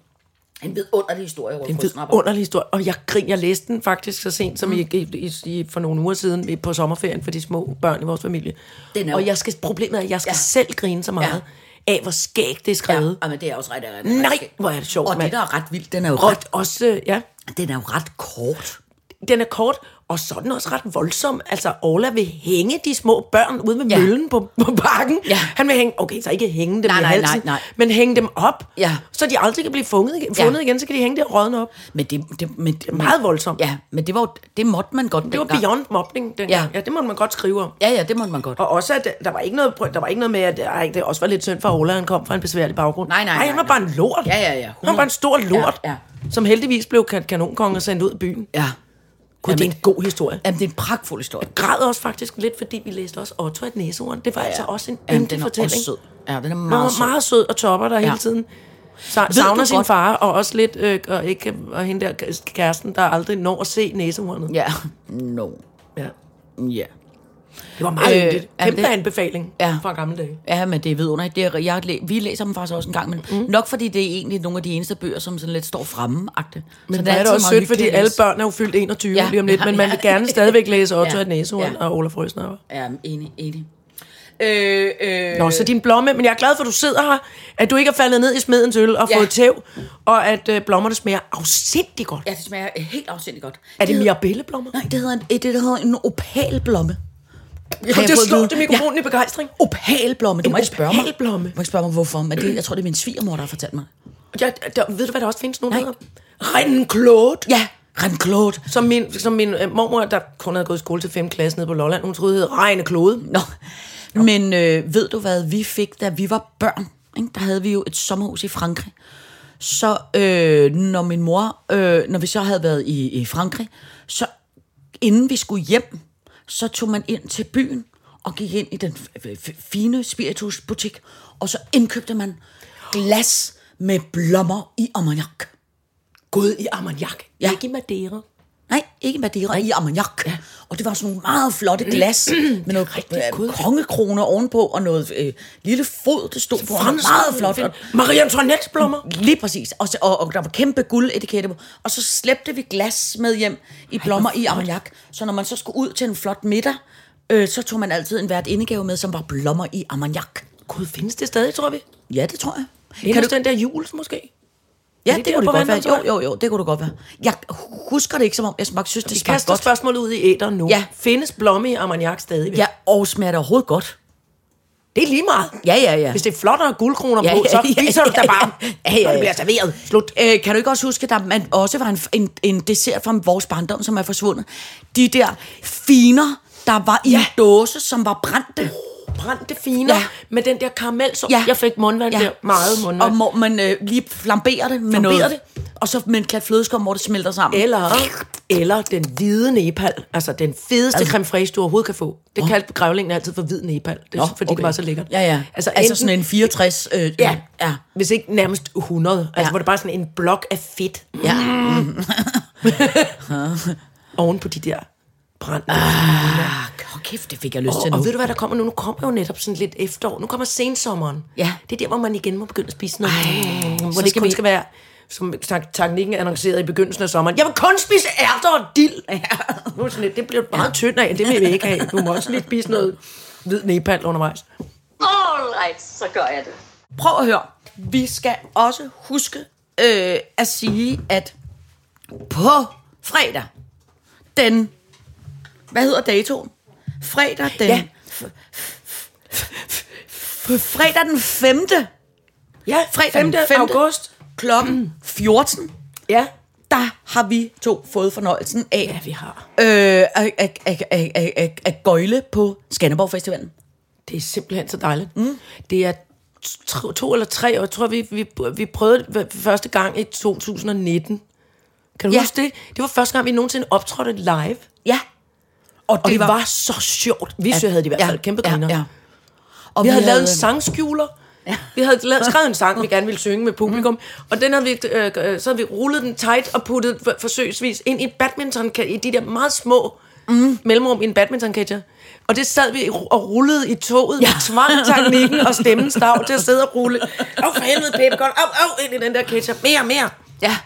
Speaker 4: En vidunderlig historie, Rolf
Speaker 3: En
Speaker 4: Røsnapper.
Speaker 3: vidunderlig historie, og jeg griner. Jeg læste den faktisk så sent som mm. i, i, i, for nogle uger siden i- på sommerferien for de små børn i vores familie.
Speaker 4: Den er
Speaker 3: og
Speaker 4: jo-
Speaker 3: jeg skal, problemet er, at jeg skal ja.
Speaker 4: Ja.
Speaker 3: selv grine så meget ja. af, hvor skægt det er skrevet.
Speaker 4: Ja, men det er også ret, ret, ret
Speaker 3: Ja. Nej,
Speaker 4: skægt.
Speaker 3: hvor er det sjovt,
Speaker 4: Og
Speaker 3: mand.
Speaker 4: det, der er ret vildt, den er jo
Speaker 3: Og
Speaker 4: ret,
Speaker 3: også, øh, ja,
Speaker 4: den er jo ret kort.
Speaker 3: den er kort, og så er den også ret voldsom. Altså, Orla vil hænge de små børn ude ved ja.
Speaker 4: Ja.
Speaker 3: møllen på, på bakken.
Speaker 4: Ja.
Speaker 3: Han vil hænge, okay, så ikke hænge dem
Speaker 4: Nej,
Speaker 3: i
Speaker 4: nej, nej,
Speaker 3: halsen,
Speaker 4: nej.
Speaker 3: men hænge dem op,
Speaker 4: Ja.
Speaker 3: så de aldrig kan blive fundet, igen- fundet ja. igen, så kan de hænge der og rådne op.
Speaker 4: Men det, det, men, det er
Speaker 3: meget voldsomt.
Speaker 4: Ja, men det, var, jo- det måtte man godt
Speaker 3: Det var beyond mobning dengang. Ja.
Speaker 4: Ja.
Speaker 3: ja, det må man godt skrive om.
Speaker 4: Ja, ja, det måtte man godt.
Speaker 3: Og også, at der var ikke noget, der var ikke noget med, at ej, det også var lidt synd for Ola, han kom fra en besværlig baggrund.
Speaker 4: Nej, nej,
Speaker 3: Ej, han
Speaker 4: nej,
Speaker 3: var
Speaker 4: nej.
Speaker 3: bare en lort.
Speaker 4: Ja, ja, ja.
Speaker 3: Han var bare en stor lort,
Speaker 4: Ja, ja.
Speaker 3: som heldigvis blev kan- kanonkonge og sendt ud af byen.
Speaker 4: Ja.
Speaker 3: Gud, det er
Speaker 4: Jamen-
Speaker 3: en god historie.
Speaker 4: Jamen, det er en pragtfuld historie.
Speaker 3: græd også faktisk lidt, fordi vi læste også Otto af næsehorn. Det var ja. altså også en
Speaker 4: Jamen,
Speaker 3: yndig
Speaker 4: den er
Speaker 3: fortælling.
Speaker 4: også sød. Ja, den er
Speaker 3: Man var
Speaker 4: meget sød.
Speaker 3: meget sød og topper der ja. hele tiden. Sa-
Speaker 4: du
Speaker 3: savner sin
Speaker 4: godt-
Speaker 3: far, og også lidt, øh, og, ikke, og hende der kæ- kæresten, der aldrig når at se næsehornet.
Speaker 4: Ja. No.
Speaker 3: Ja.
Speaker 4: Ja.
Speaker 3: Det var meget øh,
Speaker 4: Øh,
Speaker 3: yndigt.
Speaker 4: jamen,
Speaker 3: Kæmpe
Speaker 4: det-
Speaker 3: anbefaling
Speaker 4: Ja.
Speaker 3: fra gamle dage.
Speaker 4: Ja, men det er vidunderligt. Det er, jeg, læ- vi læser dem faktisk også en gang, men mm. nok fordi det er egentlig nogle af de eneste bøger, som sådan lidt står fremme -agtigt.
Speaker 3: Men det er da også sødt, fordi alle børn er jo fyldt 21 ja.
Speaker 4: Ja.
Speaker 3: lige om lidt, men man vil
Speaker 4: Ja.
Speaker 3: gerne stadigvæk læse Otto ja. Øh.
Speaker 4: Ja.
Speaker 3: af Næsehorn
Speaker 4: Ja.
Speaker 3: og Olaf Røsner.
Speaker 4: Ja, enig, enig. Øh, øh,
Speaker 3: Nå, så din blomme, men jeg er glad for, at du sidder her, at du ikke er faldet ned i smedens øl og
Speaker 4: Ja.
Speaker 3: fået tæv, og at øh, blommerne smager afsindig godt.
Speaker 4: ja, det smager helt afsindigt godt.
Speaker 3: Er det
Speaker 4: hed-
Speaker 3: mirabelleblommer?
Speaker 4: Nej, det hedder en, det, der hedder en opalblomme.
Speaker 3: Ja,
Speaker 4: Har jeg
Speaker 3: det
Speaker 4: fået
Speaker 3: slår
Speaker 4: at vide?
Speaker 3: det mikrofonen ja. i begejstring.
Speaker 4: Opalblomme, du
Speaker 3: En
Speaker 4: må ikke spørge mig.
Speaker 3: opalblomme.
Speaker 4: Du må ikke spørge mig, hvorfor, men det, jeg tror, det er min svigermor, der har fortalt mig.
Speaker 3: Ja, der, ved du, hvad der også findes nogen, der
Speaker 4: Nej.
Speaker 3: hedder? Renklot.
Speaker 4: Ja, Renklot.
Speaker 3: Som min, som min øh, mormor, der kun havde gået i skole til 5. klasse nede på Lolland, hun troede, det hed Regneklode.
Speaker 4: Nå, men øh, ved du hvad vi fik, da vi var børn? Ikke? Der havde vi jo et sommerhus i Frankrig. Så øh, når min mor, øh, når vi så havde været i, i Frankrig, så inden vi skulle hjem, så tog man ind til byen og gik ind i den f- f- fine spiritusbutik, og så indkøbte man glas med blommer i ammoniak.
Speaker 3: Gud i Armagnac. Ja.
Speaker 4: Ja.
Speaker 3: Ikke i Madeira.
Speaker 4: Nej, ikke Madeira, i ammoniak. Ja. Og det var sådan nogle meget flotte glas med noget øh, kongekrone ovenpå og noget øh, lille fod, det stod på. og Meget flot. Og,
Speaker 3: Marie Antoinettes blommer.
Speaker 4: lige præcis. Og, så- og, og der var kæmpe guldetikette på. Og så slæbte vi glas med hjem i blommer i ammoniak. Så når man så skulle ud til en flot middag, øh, så tog man altid en hvert indegave med, som var blommer i ammoniak.
Speaker 3: Gud, findes det stadig, tror vi?
Speaker 4: Ja, det tror jeg.
Speaker 3: Det er du... den der jul, måske?
Speaker 4: Ja,
Speaker 3: Er
Speaker 4: det,
Speaker 3: det
Speaker 4: det
Speaker 3: der
Speaker 4: kunne det
Speaker 3: på
Speaker 4: godt være. Jo,
Speaker 3: Vandretorvet?
Speaker 4: jo, jo, det kunne det godt være. Jeg husker det ikke, som om jeg smagte synes, det
Speaker 3: Vi
Speaker 4: smagte
Speaker 3: kaster
Speaker 4: godt.
Speaker 3: spørgsmålet ud i æderen nu.
Speaker 4: Ja.
Speaker 3: Findes blomme i ammoniak stadigvæk?
Speaker 4: Ja, og smager det overhovedet godt.
Speaker 3: Det er lige meget.
Speaker 4: Ja, ja, ja.
Speaker 3: Hvis det er flottere guldkroner på, så viser du dig bare,
Speaker 4: ja, ja, ja.
Speaker 3: når det bliver serveret.
Speaker 4: Slut. Øh, kan du ikke også huske, at der man også var en, en, en dessert fra vores barndom, som er forsvundet? De der finer, der var i ja. en dåse, som var brændte.
Speaker 3: Brændte finer
Speaker 4: Ja.
Speaker 3: ja. med den der karamel, som ja. jeg fik mundvand ja. der. Meget mundvand.
Speaker 4: Og må man øh, lige flambere det med
Speaker 3: Flambere
Speaker 4: noget.
Speaker 3: Mm. det.
Speaker 4: Og så med en klat flødeskum, hvor det smelter sammen.
Speaker 3: Eller, eller den hvide Nepal, altså den fedeste creme fraiche, du overhovedet kan få. Det kaldte grævlingen altid for hvid Nepal, det,
Speaker 4: Nå,
Speaker 3: Nå, fordi okay. det var så lækkert.
Speaker 4: Ja, ja. Altså, altså sådan en 64... Øh,
Speaker 3: Ja,
Speaker 4: ja.
Speaker 3: ja, Mm. hvis ikke nærmest 100. Altså,
Speaker 4: Ja.
Speaker 3: hvor det bare er sådan en blok af fedt
Speaker 4: ja.
Speaker 3: oven på de der brændte Ah,
Speaker 4: Åh, kæft, det fik jeg lyst Ah, til
Speaker 3: Og,
Speaker 4: nu.
Speaker 3: og ved du hvad der kommer nu? Nu kommer jo netop sådan lidt efterår. Nu kommer sensommeren.
Speaker 4: Ja.
Speaker 3: Det er der, hvor man igen må begynde at spise noget. Ej, hvor det
Speaker 4: så
Speaker 3: ikke
Speaker 4: skal vi-
Speaker 3: kun skal være, som tak- teknikken annoncerede i begyndelsen af sommeren. Jeg vil kun spise ærter og dild. Ja. Nu er sådan lidt, det bliver meget ja. tyndt af. Det vil vi ikke have. Du må også lige spise noget hvid nepal undervejs.
Speaker 2: Alright, så gør jeg det.
Speaker 4: prøv at høre. Vi skal også huske øh, at sige, at på fredag, den... Hvad hedder datoen? Fredag den...
Speaker 3: Ja.
Speaker 4: f- f- f- f- f- Fredag den 5.
Speaker 3: Ja,
Speaker 4: Fredag den
Speaker 3: 5.
Speaker 4: femte.
Speaker 3: august.
Speaker 4: klokken 14,
Speaker 3: Ja.
Speaker 4: der har vi to fået fornøjelsen af
Speaker 3: Ja, vi har.
Speaker 4: øh, at, at, at, at, at, at, at gøjle på Skanderborg Festivalen.
Speaker 3: Det er simpelthen så dejligt. Mm. Det er to, to eller tre år, jeg tror vi, vi, vi prøvede det for første gang i 2019. Kan du
Speaker 4: Ja.
Speaker 3: ja. huske det? Det var første gang, vi nogensinde optrådte live.
Speaker 4: Ja. Og
Speaker 3: Og det, var, var så sjovt. Vi ja, havde det i hvert fald ja, kæmpe griner. Ja, ja.
Speaker 4: Og
Speaker 3: Vi havde lavet en sangskjuler. Ja. Vi havde lavet, skrevet en sang, vi gerne ville synge med publikum. Mm. Og den havde vi, øh, øh, så havde vi rullet den tight og puttet for, forsøgsvis ind i en badminton i de der meget små mm. mellemrum i en badminton catcher. Og det sad vi ru- og rullede i toget ja. med tvangteknikken og stemmens dag til at sidde og rulle. Åh, for helvede, Pep, godt. Au, au, ind i den der ketchup. Mere, mere.
Speaker 4: Ja.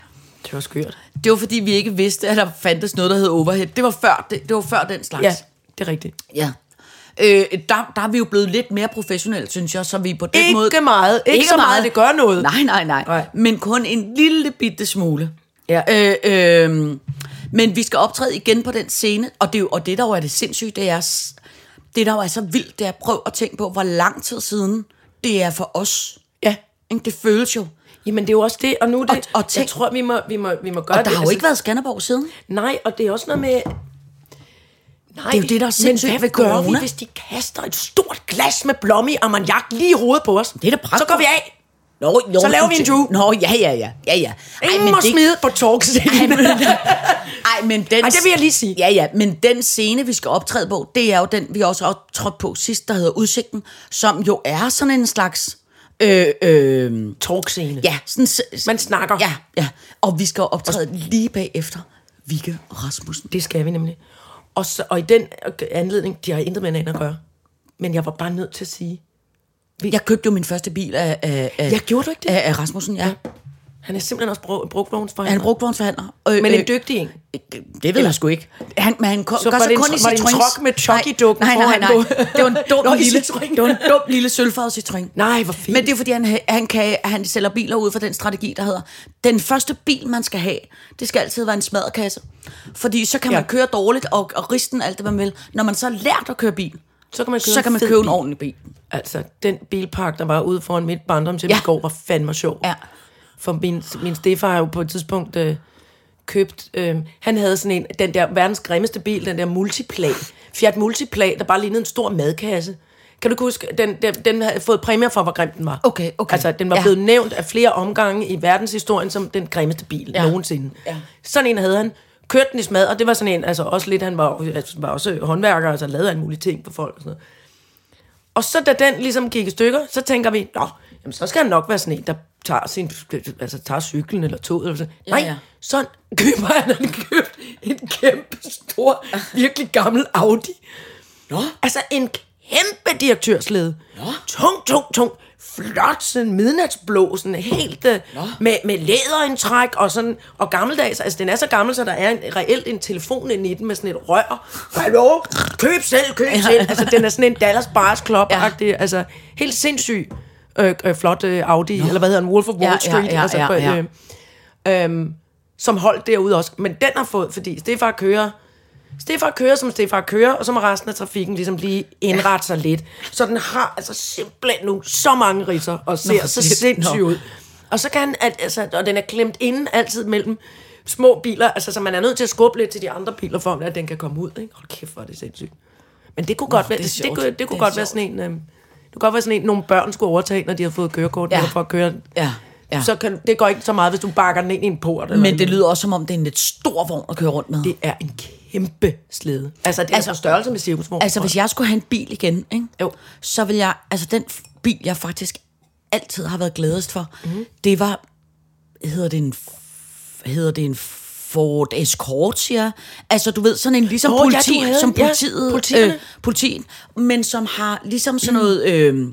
Speaker 3: Det var skørt.
Speaker 4: Det var fordi, vi ikke vidste, at der fandtes noget, der hed overhead. Det var før, det, det var før den slags.
Speaker 3: Ja, det er rigtigt.
Speaker 4: ja. Øh, der, der er vi jo blevet lidt mere professionelle, synes jeg, så vi på den
Speaker 3: Ikke
Speaker 4: måde...
Speaker 3: meget. Ikke så meget, det gør noget.
Speaker 4: Nej, nej, nej, nej.
Speaker 3: Nej.
Speaker 4: Men kun en lille bitte smule.
Speaker 3: Ja.
Speaker 4: Øh, øh, men vi skal optræde igen på den scene, og det, er jo- og det der jo er det sindssygt, det er, s- det der jo er så vildt, det er prøv at tænke på, hvor lang tid siden det er for os.
Speaker 3: Ja,
Speaker 4: Ikke? Det føles jo.
Speaker 3: Jamen, det er jo også det, og nu er det...
Speaker 4: Og- og tænk-
Speaker 3: jeg tror, vi må, vi må, vi må gøre
Speaker 4: Og der
Speaker 3: det. Altså,
Speaker 4: har jo ikke været Skanderborg siden.
Speaker 3: Nej, og det er også noget med... Nej,
Speaker 4: Det er jo det, der er sindssygt
Speaker 3: men
Speaker 4: ved
Speaker 3: hvad gør vi,
Speaker 4: corona.
Speaker 3: hvis de kaster et stort glas med blomme i ammoniak lige i hovedet på os? Det
Speaker 4: er da pragtfuldt.
Speaker 3: Så går vi af.
Speaker 4: Nå, jo,
Speaker 3: Så laver
Speaker 4: du
Speaker 3: vi en
Speaker 4: tæ-
Speaker 3: Drew.
Speaker 4: Nå, ja, ja, ja. ja, ja. Ej,
Speaker 3: Ingen må det... smide på
Speaker 4: Ej,
Speaker 3: talkscenen.
Speaker 4: men, ej, men den...
Speaker 3: Ej, det vil jeg lige sige.
Speaker 4: Ja, ja, men den scene, vi skal optræde på, det er jo den, vi også har optrådt på sidst, der hedder Udsigten, som jo er sådan en slags... Øh, øh,
Speaker 3: Talkscene.
Speaker 4: ja, sådan... s- s-
Speaker 3: Man snakker.
Speaker 4: Ja, ja. Og vi skal optræde lige bagefter Vikke Rasmussen.
Speaker 3: Det skal vi nemlig. Og, så, og i den anledning, de har intet med hinanden at gøre. Men jeg var bare nødt til at sige,
Speaker 4: Jeg købte jo min første bil af, af, af,
Speaker 3: jeg gjorde du ikke det?
Speaker 4: af, af Rasmussen, ja.
Speaker 3: Han er simpelthen også brug,
Speaker 4: Han
Speaker 3: brugvognsforhandler.
Speaker 4: brugte brugtvognsforhandler. Øh,
Speaker 3: Men
Speaker 4: øh,
Speaker 3: en dygtig en.
Speaker 4: Det ved jeg sgu ikke. Han, men han kom,
Speaker 3: Så var
Speaker 4: gør sig
Speaker 3: det en
Speaker 4: kun
Speaker 3: tro-
Speaker 4: i
Speaker 3: var det en
Speaker 4: Citroëns.
Speaker 3: trok med Chucky-dukken
Speaker 4: Nej, nej, nej, nej.
Speaker 3: foran på?
Speaker 4: Det var en dum
Speaker 3: Nå, i
Speaker 4: lille,
Speaker 3: Citroën.
Speaker 4: det var en dum lille sølvfarvet Citroën.
Speaker 3: Nej, hvor fint.
Speaker 4: Men det er fordi, han, han, kan, han sælger biler ud fra den strategi, der hedder, den første bil, man skal have, det skal altid være en smadkasse. Fordi så kan man
Speaker 3: Ja.
Speaker 4: køre dårligt og, og risten alt det, man vil. Når man så har lært at køre bil,
Speaker 3: Så kan man købe
Speaker 4: så kan man
Speaker 3: fed
Speaker 4: købe en
Speaker 3: bil.
Speaker 4: ordentlig bil.
Speaker 3: Altså, den bilpark, der var ude foran mit barndom til
Speaker 4: Ja.
Speaker 3: ja. i går, var fandme sjov.
Speaker 4: Ja.
Speaker 3: For min, min stefar har jo på et tidspunkt øh, købt... Øh, han havde sådan en, den der verdens grimmeste bil, den der Multiplag. Fiat Multiplag, der bare lignede en stor madkasse. Kan du ikke huske, den, den, den havde fået præmier for, hvor grim den var.
Speaker 4: Okay, okay.
Speaker 3: Altså, den var
Speaker 4: Ja.
Speaker 3: ja. blevet nævnt af flere omgange i verdenshistorien som den grimmeste bil
Speaker 4: Ja.
Speaker 3: ja. nogensinde.
Speaker 4: Ja.
Speaker 3: Sådan en havde han. Kørte den i smad, og det var sådan en, altså også lidt, han var, altså, var også håndværker, altså lavede alle mulige ting for folk og sådan noget. Og så da den ligesom gik i stykker, så tænker vi, nå, jamen, så skal han nok være sådan en, der tager, sin, altså, tager cyklen eller toget. Eller sådan. Nej,
Speaker 4: ja.
Speaker 3: sådan køber han, han købt en kæmpe stor, virkelig gammel Audi. Nå. Altså en kæmpe direktørslede. Nå. Tung, tung, tung. Flot, sådan midnatsblå, sådan helt øh, med, med læderindtræk og sådan, og gammeldags. Altså, den er så gammel, så der er en, reelt en telefon inde i den med sådan et rør. Hallo? Køb selv, køb selv. Altså, den er sådan en Dallas Bars club ja. Altså, helt sindssyg. øh, øh, flot øh, Audi, no. eller hvad hedder den, Wolf of Wall
Speaker 4: Ja, ja,
Speaker 3: Street, Altså,
Speaker 4: ja, ja,
Speaker 3: på,
Speaker 4: ja.
Speaker 3: øh, øhm, som holdt derude også. Men den har fået, fordi Stefar kører, Stefar kører, som Stefar kører, og så må resten af trafikken ligesom lige indrette sig lidt. Så den har altså simpelthen nu så mange ridser, og ser Nå,
Speaker 4: Nå,
Speaker 3: så
Speaker 4: shit,
Speaker 3: sindssyg
Speaker 4: nå.
Speaker 3: ud. Og så kan at, altså, og den er klemt inden altid mellem små biler, altså så man er nødt til at skubbe lidt til de andre biler, for at den kan komme ud. Ikke? Hold kæft, hvor er det sindssygt. Men det kunne godt være,
Speaker 4: det er
Speaker 3: det, det,
Speaker 4: sjovt.
Speaker 3: kunne, det kunne
Speaker 4: Det er
Speaker 3: godt være sådan en, øh, det kunne godt være sådan en, nogle børn skulle overtage, når de har fået kørekort,
Speaker 4: Ja.
Speaker 3: ja. for at køre.
Speaker 4: Ja, ja.
Speaker 3: Så kan, det går ikke så meget, hvis du bakker den ind i en port. Eller
Speaker 4: Men det lyder også, som om det er en lidt stor vogn at køre rundt med.
Speaker 3: det er en kæmpe slæde. Altså, det er altså,
Speaker 4: Altså-
Speaker 3: på størrelse med cirkusvogn.
Speaker 4: Altså, hvis jeg skulle have en bil igen, ikke?
Speaker 3: Jo.
Speaker 4: så vil jeg... Altså, den f- bil, jeg faktisk altid har været gladest for,
Speaker 3: Mhm.
Speaker 4: mm. det var... Hedder det en... f- Hedder det en Ford Escort, siger jeg? Altså, du ved, sådan en ligesom
Speaker 3: Nå,
Speaker 4: oh,
Speaker 3: ja,
Speaker 4: politi,
Speaker 3: du
Speaker 4: ja,
Speaker 3: havde-
Speaker 4: som
Speaker 3: ja,
Speaker 4: politiet...
Speaker 3: politierne.
Speaker 4: øh, politien, men som har ligesom sådan noget... Øh,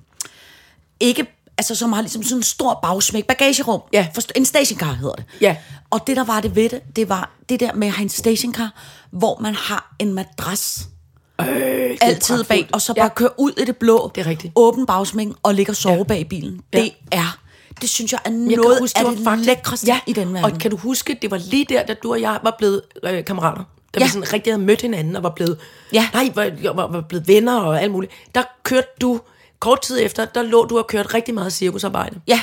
Speaker 4: ikke... Altså, som har ligesom sådan en stor bagsmæk, bagagerum.
Speaker 3: Ja.
Speaker 4: Forst- en stationcar hedder det.
Speaker 3: Ja.
Speaker 4: Og det, der var det ved det, det var det der med at have en stationcar, hvor man har en madras
Speaker 3: Øh,
Speaker 4: altid bag, og så
Speaker 3: Ja.
Speaker 4: bare ja. køre ud i det blå.
Speaker 3: Det er rigtigt.
Speaker 4: Åben bagsmæng og ligge og sove ja. bag i bilen.
Speaker 3: Ja.
Speaker 4: Ja. Det er, det synes jeg er
Speaker 3: Jeg kan
Speaker 4: noget
Speaker 3: huske,
Speaker 4: af
Speaker 3: var
Speaker 4: det
Speaker 3: faktisk-
Speaker 4: lækreste ja. i den verden.
Speaker 3: Og kan du huske, det var lige der, da du og jeg var blevet øh, kammerater. Da ja.
Speaker 4: Ja.
Speaker 3: vi sådan rigtig havde mødt hinanden og var blevet,
Speaker 4: Ja.
Speaker 3: nej, var, var, var blevet venner og alt muligt. Der kørte du, kort tid efter, der lå du og kørte rigtig meget cirkusarbejde.
Speaker 4: Ja.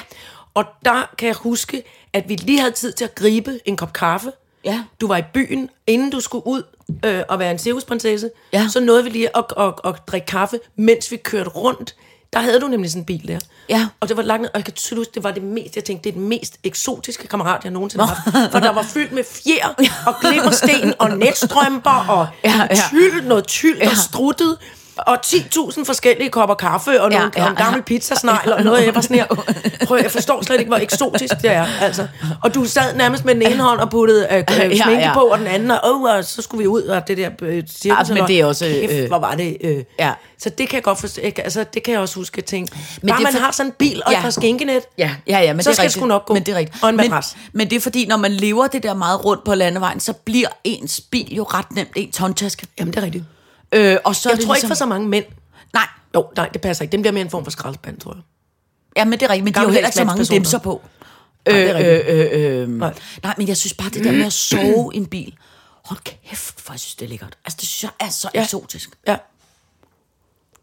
Speaker 3: Og der kan jeg huske, at vi lige havde tid til at gribe en kop kaffe.
Speaker 4: Ja.
Speaker 3: Du var i byen, inden du skulle ud øh, og være en cirkusprinsesse.
Speaker 4: Ja.
Speaker 3: Så nåede vi lige at, at, at, at drikke kaffe, mens vi kørte rundt. Der havde du nemlig sådan en bil der.
Speaker 4: Ja.
Speaker 3: Og det var langt, ned, og jeg kan tydeligt huske, det var det mest, jeg tænkte, det er den mest eksotiske kammerat, jeg nogensinde har haft. For der var fyldt med fjer og glimmersten og netstrømper og
Speaker 4: Ja, ja.
Speaker 3: tyld, noget tyld, der
Speaker 4: Ja.
Speaker 3: struttede. Og 10.000 forskellige kopper kaffe og
Speaker 4: Ja,
Speaker 3: nogle, ja,
Speaker 4: ja,
Speaker 3: ja, en gammel
Speaker 4: ja.
Speaker 3: pizzasnegl og noget æbbersnær. Prøv, jeg forstår slet ikke, hvor eksotisk det er. Altså. Og du sad nærmest med den ene hånd og puttede øh, øh, sminke ja,
Speaker 4: Ja,
Speaker 3: ja.
Speaker 4: ja.
Speaker 3: på, og den anden, og, oh, og så skulle vi ud og det der øh, cirkus.
Speaker 4: Ja, Ah, men det er også,
Speaker 3: Kæft,
Speaker 4: øh,
Speaker 3: hvor var det... Øh.
Speaker 4: ja.
Speaker 3: Så det kan jeg godt forstå. ikke? Altså, det kan jeg også huske at tænke. Men
Speaker 4: Men
Speaker 3: Bare
Speaker 4: det er
Speaker 3: man
Speaker 4: for-
Speaker 3: har sådan en bil og ja. et
Speaker 4: Ja.
Speaker 3: par skinkenet.
Speaker 4: Ja, ja, ja, men
Speaker 3: Så
Speaker 4: det
Speaker 3: skal
Speaker 4: er
Speaker 3: det
Speaker 4: rigtigt.
Speaker 3: sgu nok gå.
Speaker 4: Men det er rigtigt.
Speaker 3: Og en
Speaker 4: men,
Speaker 3: madras.
Speaker 4: men det er fordi, når man lever det der meget rundt på landevejen, så bliver ens bil jo ret nemt ens håndtaske.
Speaker 3: Jamen, det er rigtigt.
Speaker 4: Øh, og så er
Speaker 3: Jeg
Speaker 4: det
Speaker 3: tror ikke
Speaker 4: ligesom,
Speaker 3: for så mange mænd.
Speaker 4: Nej,
Speaker 3: Jo, nej, det passer ikke. Den bliver mere en form for skraldspand, tror jeg.
Speaker 4: ja, men det er rigtigt, men de har jo
Speaker 3: Gammeldags
Speaker 4: heller ikke så mange
Speaker 3: mandspersoner.
Speaker 4: dimser på. Øh,
Speaker 3: Nej, det er rigtigt.
Speaker 4: Nej. Nej, men jeg synes bare, det der med at sove i en bil, hold kæft, for jeg synes, det er lækkert. Altså, det synes jeg er så
Speaker 3: Ja.
Speaker 4: ja. eksotisk.
Speaker 3: Ja.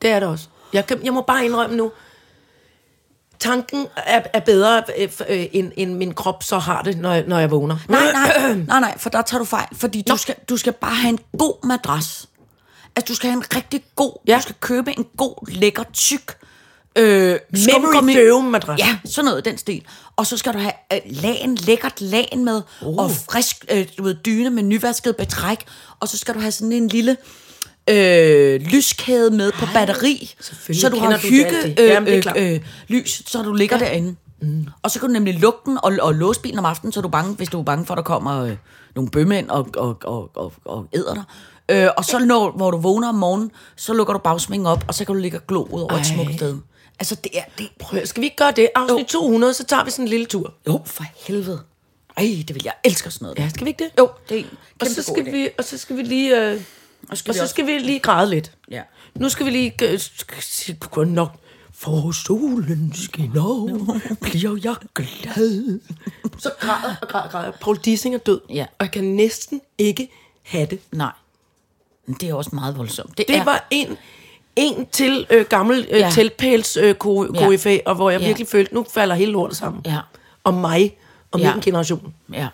Speaker 3: Det er det også. Jeg, kan, jeg må bare indrømme nu, tanken er, er bedre, øh, f- øh, end, end min krop så har det, når jeg, når jeg vågner.
Speaker 4: Nej, nej, nej, nej, for der tager du fejl. Fordi
Speaker 3: Nå.
Speaker 4: du skal, du skal bare have en god madras. Altså, du skal have en rigtig god...
Speaker 3: Ja.
Speaker 4: Ja. Du skal købe en god, lækker, tyk... Øh, skumgummi-
Speaker 3: døve madras.
Speaker 4: Ja, sådan noget i den stil. Og så skal du have øh, lagen, lækkert lagen med, uh. og frisk øh, du ved, dyne med nyvasket betræk. Og så skal du have sådan en lille øh, lyskæde med på batteri,
Speaker 3: selvfølgelig
Speaker 4: så du
Speaker 3: kender
Speaker 4: har
Speaker 3: du det
Speaker 4: hygge
Speaker 3: alt det. Jamen, det er klart.
Speaker 4: øh, øh, øh, lys, så du ligger ja. derinde. Mm. Og så kan du nemlig lukke den og, og låse bilen om aftenen, så er du bange, hvis du er bange for, at der kommer øh, nogle bømænd og, og, og, og, og æder dig. Øh, og så når hvor du vågner om morgenen, så lukker du bagsmængen op, og så kan du ligge og glo ud over Ej. et smukt sted. Altså, det er... Det,
Speaker 3: Prøv, skal vi ikke gøre det? Afsnit 200, så tager vi sådan en lille tur.
Speaker 4: jo, for helvede. Ej, det vil jeg elsker sådan noget.
Speaker 3: Ja, skal vi ikke det?
Speaker 4: Jo, det er en
Speaker 3: Og
Speaker 4: kæmpe
Speaker 3: så,
Speaker 4: god
Speaker 3: skal
Speaker 4: idé.
Speaker 3: vi, og så skal vi lige... Øh, og,
Speaker 4: skal
Speaker 3: og
Speaker 4: vi
Speaker 3: så
Speaker 4: også-
Speaker 3: skal vi lige græde lidt.
Speaker 4: Ja.
Speaker 3: Nu skal vi lige... øh, sk- sige, Godt nok for solen skinner, bliver jeg glad. Så græder og græder og græder. Paul Dissing er død,
Speaker 4: Ja.
Speaker 3: og jeg kan næsten ikke have det.
Speaker 4: Nej. Men det er også meget voldsomt. Det,
Speaker 3: Det
Speaker 4: er,
Speaker 3: ja. var en, en til øh, gammel øh, ja.
Speaker 4: Ja.
Speaker 3: teltpæls øh, ko,
Speaker 4: Ja.
Speaker 3: ja. og hvor jeg
Speaker 4: Ja.
Speaker 3: virkelig følte, nu falder hele lortet sammen.
Speaker 4: Ja.
Speaker 3: Og mig, og ja.
Speaker 4: Ja.
Speaker 3: min generation.
Speaker 4: Ja.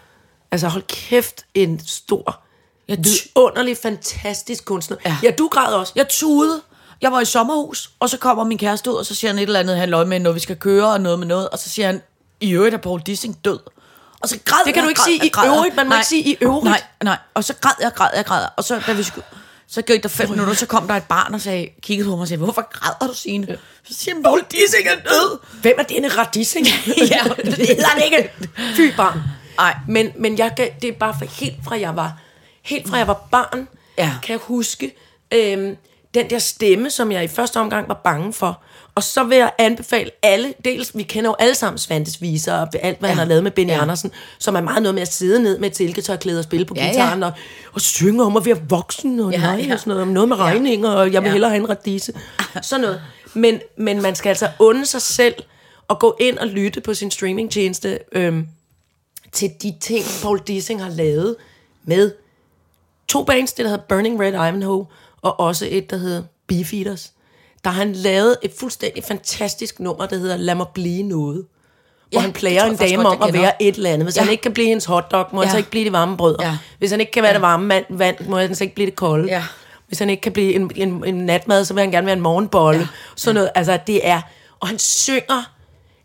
Speaker 3: Altså hold kæft, en stor,
Speaker 4: Jeg ty-
Speaker 3: vidunderlig, fantastisk kunstner. Ja.
Speaker 4: Ja.
Speaker 3: ja, du græd også.
Speaker 4: Jeg tudede. Jeg var i sommerhus, og så kommer min kæreste ud, og så siger han et eller andet, han løg med, når vi skal køre, og noget med noget, og så siger han, i øvrigt er Paul Dissing død. Og så græd
Speaker 3: Det kan
Speaker 4: jeg,
Speaker 3: du ikke
Speaker 4: græd
Speaker 3: sige
Speaker 4: jeg,
Speaker 3: i
Speaker 4: græd jeg.
Speaker 3: øvrigt. Man må ikke sige i øvrigt.
Speaker 4: Nej, nej. Og så græd jeg, græd jeg, græd jeg. Og så, da vi skulle, så gik der fem minutter, så kom der et barn og sagde, kiggede på mig og sagde, hvorfor græder du, Signe? Så siger han, Paul Dissing er død.
Speaker 3: Hvem er denne radissing?
Speaker 4: Ja, det hedder han ikke.
Speaker 3: Fy barn.
Speaker 4: Ej.
Speaker 3: Men, men jeg kan, det er bare for, helt fra jeg var, helt fra jeg var barn,
Speaker 4: Ja.
Speaker 3: kan jeg huske øhm, den der stemme, som jeg i første omgang var bange for. Og så vil jeg anbefale alle, dels, vi kender jo alle sammen Svantes viser, og alt, hvad ja. han har lavet med Benny ja.
Speaker 4: Ja.
Speaker 3: Andersen, som er meget noget med at sidde ned med et silketørklæde og spille på
Speaker 4: Ja, ja.
Speaker 3: gitaren, Og, og synge om at være voksen, og ja,
Speaker 4: Ja,
Speaker 3: nej,
Speaker 4: ja.
Speaker 3: og sådan noget, om noget med
Speaker 4: Ja.
Speaker 3: regninger, og jeg vil ja.
Speaker 4: Ja. Ah,
Speaker 3: hellere have en radise. Sådan noget. Men, men man skal altså unde sig selv at gå ind og lytte på sin streamingtjeneste øhm, til de ting, Paul Dissing har lavet med to bands, det der hedder Burning Red Ivanhoe, og også et, der hedder Beefeaters. Der har han lavet et fuldstændig fantastisk nummer, der hedder Lad mig blive noget. Hvor
Speaker 4: Ja,
Speaker 3: ja, han plager
Speaker 4: det tror
Speaker 3: en
Speaker 4: jeg faktisk
Speaker 3: dame
Speaker 4: godt, jeg
Speaker 3: om at
Speaker 4: kender.
Speaker 3: være et eller andet. Hvis
Speaker 4: Ja.
Speaker 3: ja. han ikke kan blive hendes hotdog, må ja. han
Speaker 4: Ja.
Speaker 3: så ikke blive det varme brød.
Speaker 4: Ja.
Speaker 3: Hvis han ikke kan være det varme mand, vand, må han så ikke blive det kolde.
Speaker 4: Ja.
Speaker 3: Hvis han ikke kan blive en, en, en natmad, så vil han gerne være en morgenbolle. Ja. Sådan noget. Altså, det er... Og han synger...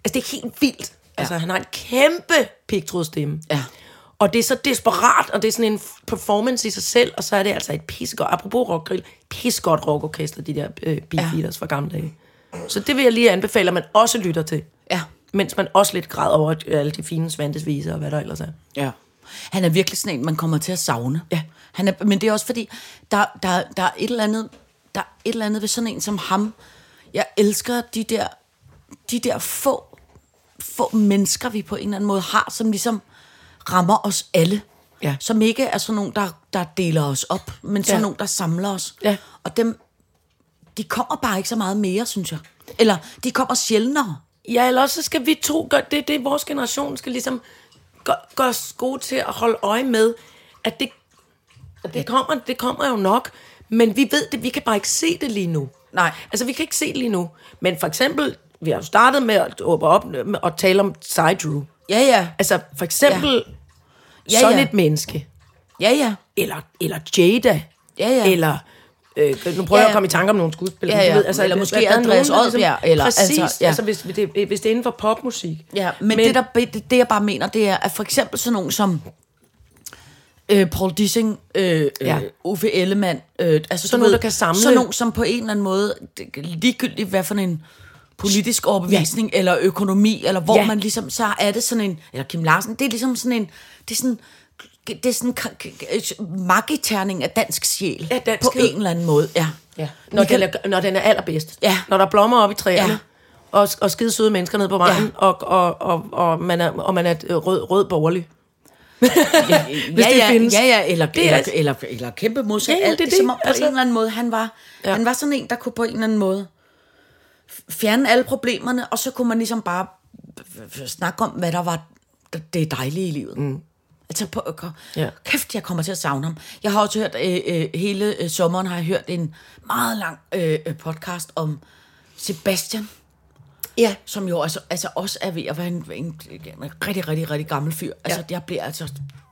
Speaker 3: Altså, det er helt vildt. Altså, han har en kæmpe pigtrådstemme.
Speaker 4: Ja.
Speaker 3: Og det er så desperat, og det er sådan en performance i sig selv, og så er det altså et pissegodt, apropos rockgrill, pissegodt rockorkester, de der øh, Beat Beaters fra gamle dage. Så det vil jeg lige anbefale, at man også lytter til.
Speaker 4: Ja.
Speaker 3: Mens man også lidt græder over øh, alle de fine Svantes viser og hvad der ellers er.
Speaker 4: Ja. Han er virkelig sådan en, man kommer til at savne.
Speaker 3: Ja.
Speaker 4: Han er, men det er også fordi, der, der, der, er et eller andet, der er et eller andet ved sådan en som ham. Jeg elsker de der, de der få, få mennesker, vi på en eller anden måde har, som ligesom rammer os alle.
Speaker 3: Ja.
Speaker 4: Som ikke er sådan nogen, der, der deler os op, men sådan
Speaker 3: Ja.
Speaker 4: nogen, der samler os.
Speaker 3: Ja.
Speaker 4: Og dem, de kommer bare ikke så meget mere, synes jeg. Eller de kommer sjældnere.
Speaker 3: Ja, eller også så skal vi to gøre det, det vores generation skal ligesom gøre gør os gode til at holde øje med, at det, at det, kommer, det kommer jo nok, men vi ved det, vi kan bare ikke se det lige nu.
Speaker 4: Nej.
Speaker 3: Altså, vi kan ikke se det lige nu. Men for eksempel, vi har jo startet med at åbne op med at tale om Psydrew.
Speaker 4: Ja, ja.
Speaker 3: Altså, for eksempel
Speaker 4: Ja,
Speaker 3: ja. sådan
Speaker 4: ja.
Speaker 3: et menneske,
Speaker 4: Ja, ja.
Speaker 3: eller, eller Jada,
Speaker 4: Ja, ja.
Speaker 3: eller... Øh, nu prøver ja,
Speaker 4: Ja,
Speaker 3: jeg
Speaker 4: ja.
Speaker 3: at komme i tanke om nogle skuespillere.
Speaker 4: Ja,
Speaker 3: men du
Speaker 4: ja.
Speaker 3: Ved, altså,
Speaker 4: Eller
Speaker 3: at-
Speaker 4: måske
Speaker 3: at der er
Speaker 4: Andreas
Speaker 3: nogen, der
Speaker 4: Odbjerg, eller-
Speaker 3: Præcis,
Speaker 4: altså,
Speaker 3: altså,
Speaker 4: ja.
Speaker 3: ja. altså hvis, det, hvis det er inden for popmusik.
Speaker 4: Ja, men, men det, der, det, det jeg bare mener, det er, at for eksempel sådan nogen som øh, Paul Dissing, øh, ja.
Speaker 3: Ja.
Speaker 4: Uffe Ellemann, øh, altså
Speaker 3: Sådan
Speaker 4: du
Speaker 3: nogen,
Speaker 4: ved,
Speaker 3: der kan samle.
Speaker 4: Sådan nogen, som på en eller anden måde, det- ligegyldigt hvad for en politisk overbevisning, ja. eller økonomi, eller hvor ja.
Speaker 3: Ja.
Speaker 4: man ligesom, så er det sådan en, eller Kim Larsen, det er ligesom sådan en, det er sådan, det er sådan en magiterning af dansk sjæl.
Speaker 3: Ja, danskhed.
Speaker 4: På en eller anden måde, ja.
Speaker 3: Ja. Når,
Speaker 4: Vi kan-
Speaker 3: Michael... den er, når den er allerbedst.
Speaker 4: Ja.
Speaker 3: Når der er blommer op i træerne.
Speaker 4: Ja.
Speaker 3: Ja. Og, og skide søde mennesker nede på vejen. Ja. Og, og, og, og, man er, og man er øh, rød, rød borgerlig.
Speaker 4: Hvis ja,
Speaker 3: det
Speaker 4: ja,
Speaker 3: findes.
Speaker 4: Ja, ja, eller,
Speaker 3: Det er
Speaker 4: eller,
Speaker 3: altså-
Speaker 4: eller, eller kæmpe modsat.
Speaker 3: Ja,
Speaker 4: Ja,
Speaker 3: ja,
Speaker 4: alt det,
Speaker 3: det
Speaker 4: det,
Speaker 3: er det.
Speaker 4: det, som om på
Speaker 3: Altså-
Speaker 4: en eller anden måde, han var, ja. han var sådan en, der kunne på en eller anden måde fjerne alle problemerne, og så kunne man ligesom bare snakke om, hvad der var det dejlige i livet. Mm. Altså, på, ko-
Speaker 3: Ja.
Speaker 4: kæft, jeg kommer til at savne ham. Jeg har også hørt, øh, øh, hele øh, sommeren har jeg hørt en meget lang øh, øh, podcast om Sebastian
Speaker 3: Ja.
Speaker 4: som jo altså, altså også er ved at være en, en, en rigtig, rigtig, rigtig gammel fyr. Altså, jeg bliver altså...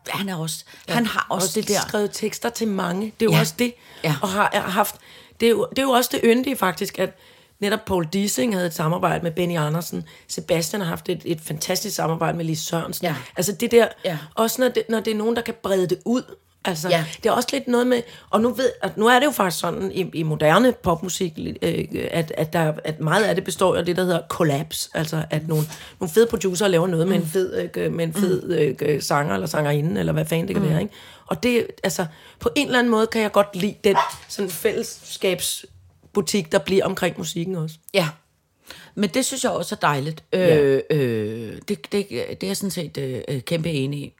Speaker 4: Han er også... Ja. Han har også, også det der...
Speaker 3: skrevet tekster til mange. Det er jo
Speaker 4: Ja.
Speaker 3: ja. også det.
Speaker 4: Ja.
Speaker 3: Og har, har haft... Det er, jo, det er jo også det yndige faktisk, at netop Paul Dissing havde et samarbejde med Benny Andersen. Sebastian har haft et, et fantastisk samarbejde med Lise Sørensen.
Speaker 4: Ja.
Speaker 3: Altså det der,
Speaker 4: Ja.
Speaker 3: også når det, når det er nogen, der kan brede det ud. Altså,
Speaker 4: Ja.
Speaker 3: ja. Det er også lidt noget med, og nu, ved, at nu er det jo faktisk sådan i, i moderne popmusik, øh, at, at, der, at meget af det består af det, der hedder collabs. Altså at nogle, nogle fede producer laver noget
Speaker 4: Mm.
Speaker 3: med en fed, øh, med en fed øh, øh, sanger eller sangerinde, eller hvad fanden det kan mm. være. Ikke? Og det, altså, på en eller anden måde kan jeg godt lide den sådan fællesskabsbutik, der bliver omkring musikken også.
Speaker 4: Ja. Men det synes jeg også er dejligt. Ja. Øh, øh, det, det, det er jeg sådan set øh, øh, kæmpe enig i.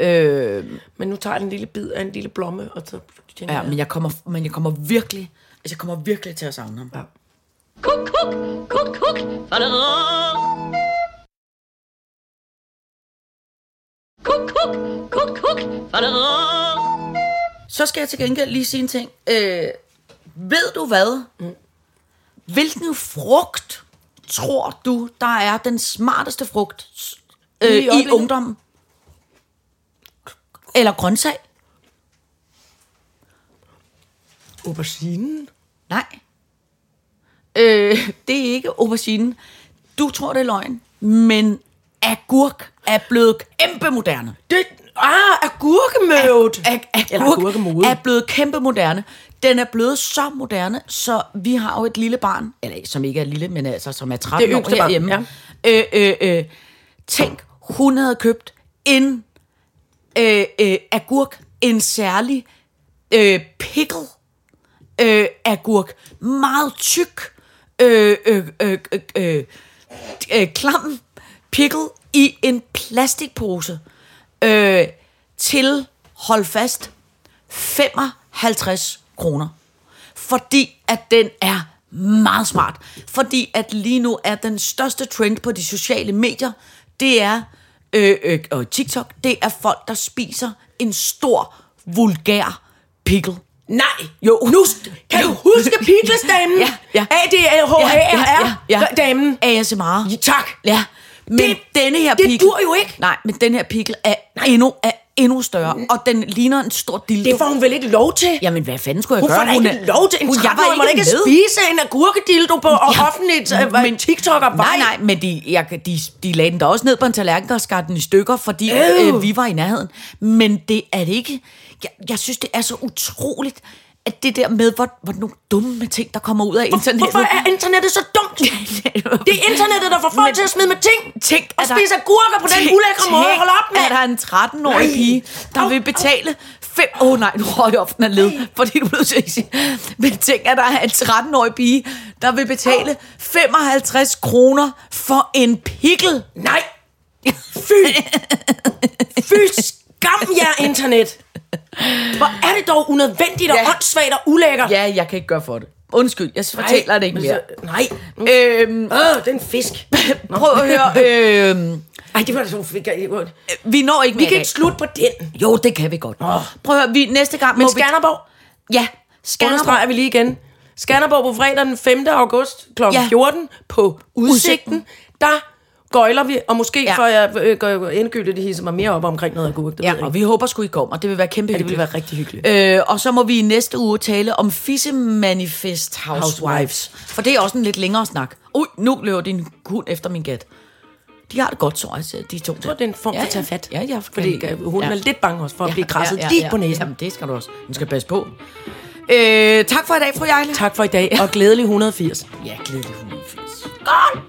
Speaker 4: Øh,
Speaker 3: Men nu tager jeg en lille bid af en lille blomme, og så tænker
Speaker 4: ja,
Speaker 3: jeg,
Speaker 4: men jeg kommer, men jeg kommer virkelig... Altså, jeg kommer virkelig til at savne ham. Ja.
Speaker 2: Kuk, kuk, kuk, kuk. Kuk, kuk, kuk, kuk.
Speaker 4: Så skal jeg til gengæld lige sige en ting. Øh, ved du hvad? Mm. Hvilken frugt tror du, der er den smarteste frugt s- øh,
Speaker 3: Lige i
Speaker 4: i, i
Speaker 3: øjeblikket?
Speaker 4: ungdommen? Eller grøntsag?
Speaker 3: auberginen?
Speaker 4: Nej. Øh, det er ikke aubergine. Du tror, det er løgn, men agurk er blevet kæmpe moderne.
Speaker 3: Det, ah, agurkemødet.
Speaker 4: Ag-
Speaker 3: Eller
Speaker 4: agurk
Speaker 3: agurkemode.
Speaker 4: er blevet kæmpe moderne. Den er blevet så moderne, så vi har jo et lille barn, eller som ikke er lille, men altså som er 13
Speaker 3: Det
Speaker 4: år
Speaker 3: yngste barn,
Speaker 4: herhjemme. Øh, øh, øh, tænk, hun havde købt en øh, øh, agurk, en særlig øh, pickle øh, agurk, meget tyk, øh, øh, øh, øh, øh, øh, klam pickle i en plastikpose øh, til, hold fast, 55 kroner. Fordi at den er meget smart, fordi at lige nu er den største trend på de sociale medier, det er, øh, øh, og TikTok, det er folk, der spiser en stor, vulgær pickle.
Speaker 3: Nej, jo. Nu kan du huske Pigles-damen?
Speaker 4: Ja, ja.
Speaker 3: ADHR-damen.
Speaker 4: ASMR.
Speaker 3: Tak.
Speaker 4: Ja, men det,
Speaker 3: Det-
Speaker 4: denne her
Speaker 3: det
Speaker 4: pikkel...
Speaker 3: dur jo ikke. Mm.
Speaker 4: Nej, men den her pikkel er, endnu, er endnu større, og den ligner en stor dildo.
Speaker 3: Det får hun vel ikke lov til?
Speaker 4: Jamen, hvad fanden skulle jeg
Speaker 3: Hun
Speaker 4: gøre?
Speaker 3: får da ikke
Speaker 4: er-
Speaker 3: lov til. En
Speaker 4: Hun- jeg var
Speaker 3: 13-årig må da
Speaker 4: ikke
Speaker 3: ikke
Speaker 4: med.
Speaker 3: spise en agurkedildo på og offentligt øh,
Speaker 4: men-
Speaker 3: men, TikTok og
Speaker 4: Nej, nej, men de, jeg, kan- de, de lagde den da også ned på en tallerken og skar den i stykker, fordi
Speaker 3: Øv.
Speaker 4: øh, vi var i nærheden. Men det er det ikke. Jeg, jeg synes, det er så utroligt, at det der med, hvor, hvor nogle dumme ting, der kommer ud af internettet.
Speaker 3: Hvorfor er internettet så dumt? Det er internettet, der får folk til at smide med ting.
Speaker 4: Tænk,
Speaker 3: og
Speaker 4: at der-
Speaker 3: spise agurker på den
Speaker 4: Tænk,
Speaker 3: ulækre måde.
Speaker 4: tænk,
Speaker 3: Hold op,
Speaker 4: Er
Speaker 3: mand.
Speaker 4: der en 13-årig
Speaker 3: Nej.
Speaker 4: pige, der
Speaker 3: Au,
Speaker 4: vil
Speaker 3: au.
Speaker 4: betale 5... Åh oh, nej, nu røg jeg often af led, fordi du blev så sige. Men tænk, at der er en 13-årig pige, der vil betale 55 kroner for en pikkel.
Speaker 3: Nej. Fy. Fy. Skam jer, internet. Hvor er det dog unødvendigt og
Speaker 4: Ja.
Speaker 3: åndssvagt og ulækkert.
Speaker 4: Ja, jeg kan ikke gøre for det. Undskyld, jeg fortæller det ikke
Speaker 3: men
Speaker 4: mere.
Speaker 3: så- Nej.
Speaker 4: Øhm,
Speaker 3: Åh, den fisk.
Speaker 4: prøv at høre. Øhm,
Speaker 3: Ej, det var da sådan, fik jeg ikke ondt.
Speaker 4: vi når ikke
Speaker 3: Vi
Speaker 4: mere
Speaker 3: kan
Speaker 4: i dag.
Speaker 3: ikke slutte på den.
Speaker 4: Jo, det kan vi godt.
Speaker 3: Åh.
Speaker 4: Prøv at høre, vi, næste gang
Speaker 3: Men
Speaker 4: må
Speaker 3: Skanderborg,
Speaker 4: vi... Ja, Skanderborg.
Speaker 3: understreger vi lige igen. Skanderborg på fredag den 5. august kl.
Speaker 4: Ja.
Speaker 3: Ja. 14 på Udsigten.
Speaker 4: Udsigten.
Speaker 3: Der gøjler vi, og måske
Speaker 4: Ja.
Speaker 3: ja. får jeg øh, gør- endegyldigt hisse mig mere op omkring noget agurk. Det ved
Speaker 4: Ja,
Speaker 3: jeg
Speaker 4: og
Speaker 3: ikke.
Speaker 4: vi håber sgu, I kommer. Det vil være kæmpe ja,
Speaker 3: det ville være rigtig hyggeligt.
Speaker 4: Øh, og så må vi i næste uge tale om Fissemanifest Housewives. Housewives.
Speaker 3: Housewives.
Speaker 4: For det er også en lidt længere snak. Ui, nu løber din hund efter min gat. De har det godt, tror jeg, altså, de to. Jeg
Speaker 3: tror, det er en form for tage fat.
Speaker 4: Ja, ja.
Speaker 3: Fordi øh, hun ja. er lidt bange også for at blive krasset ja, ja, lige på næsen.
Speaker 4: Jamen, det skal du også. Hun skal passe på. Øh, tak for i dag, fru Jejle.
Speaker 3: Tak for i dag, og glædelig 180.
Speaker 4: Ja, glædelig 180.
Speaker 3: Godt!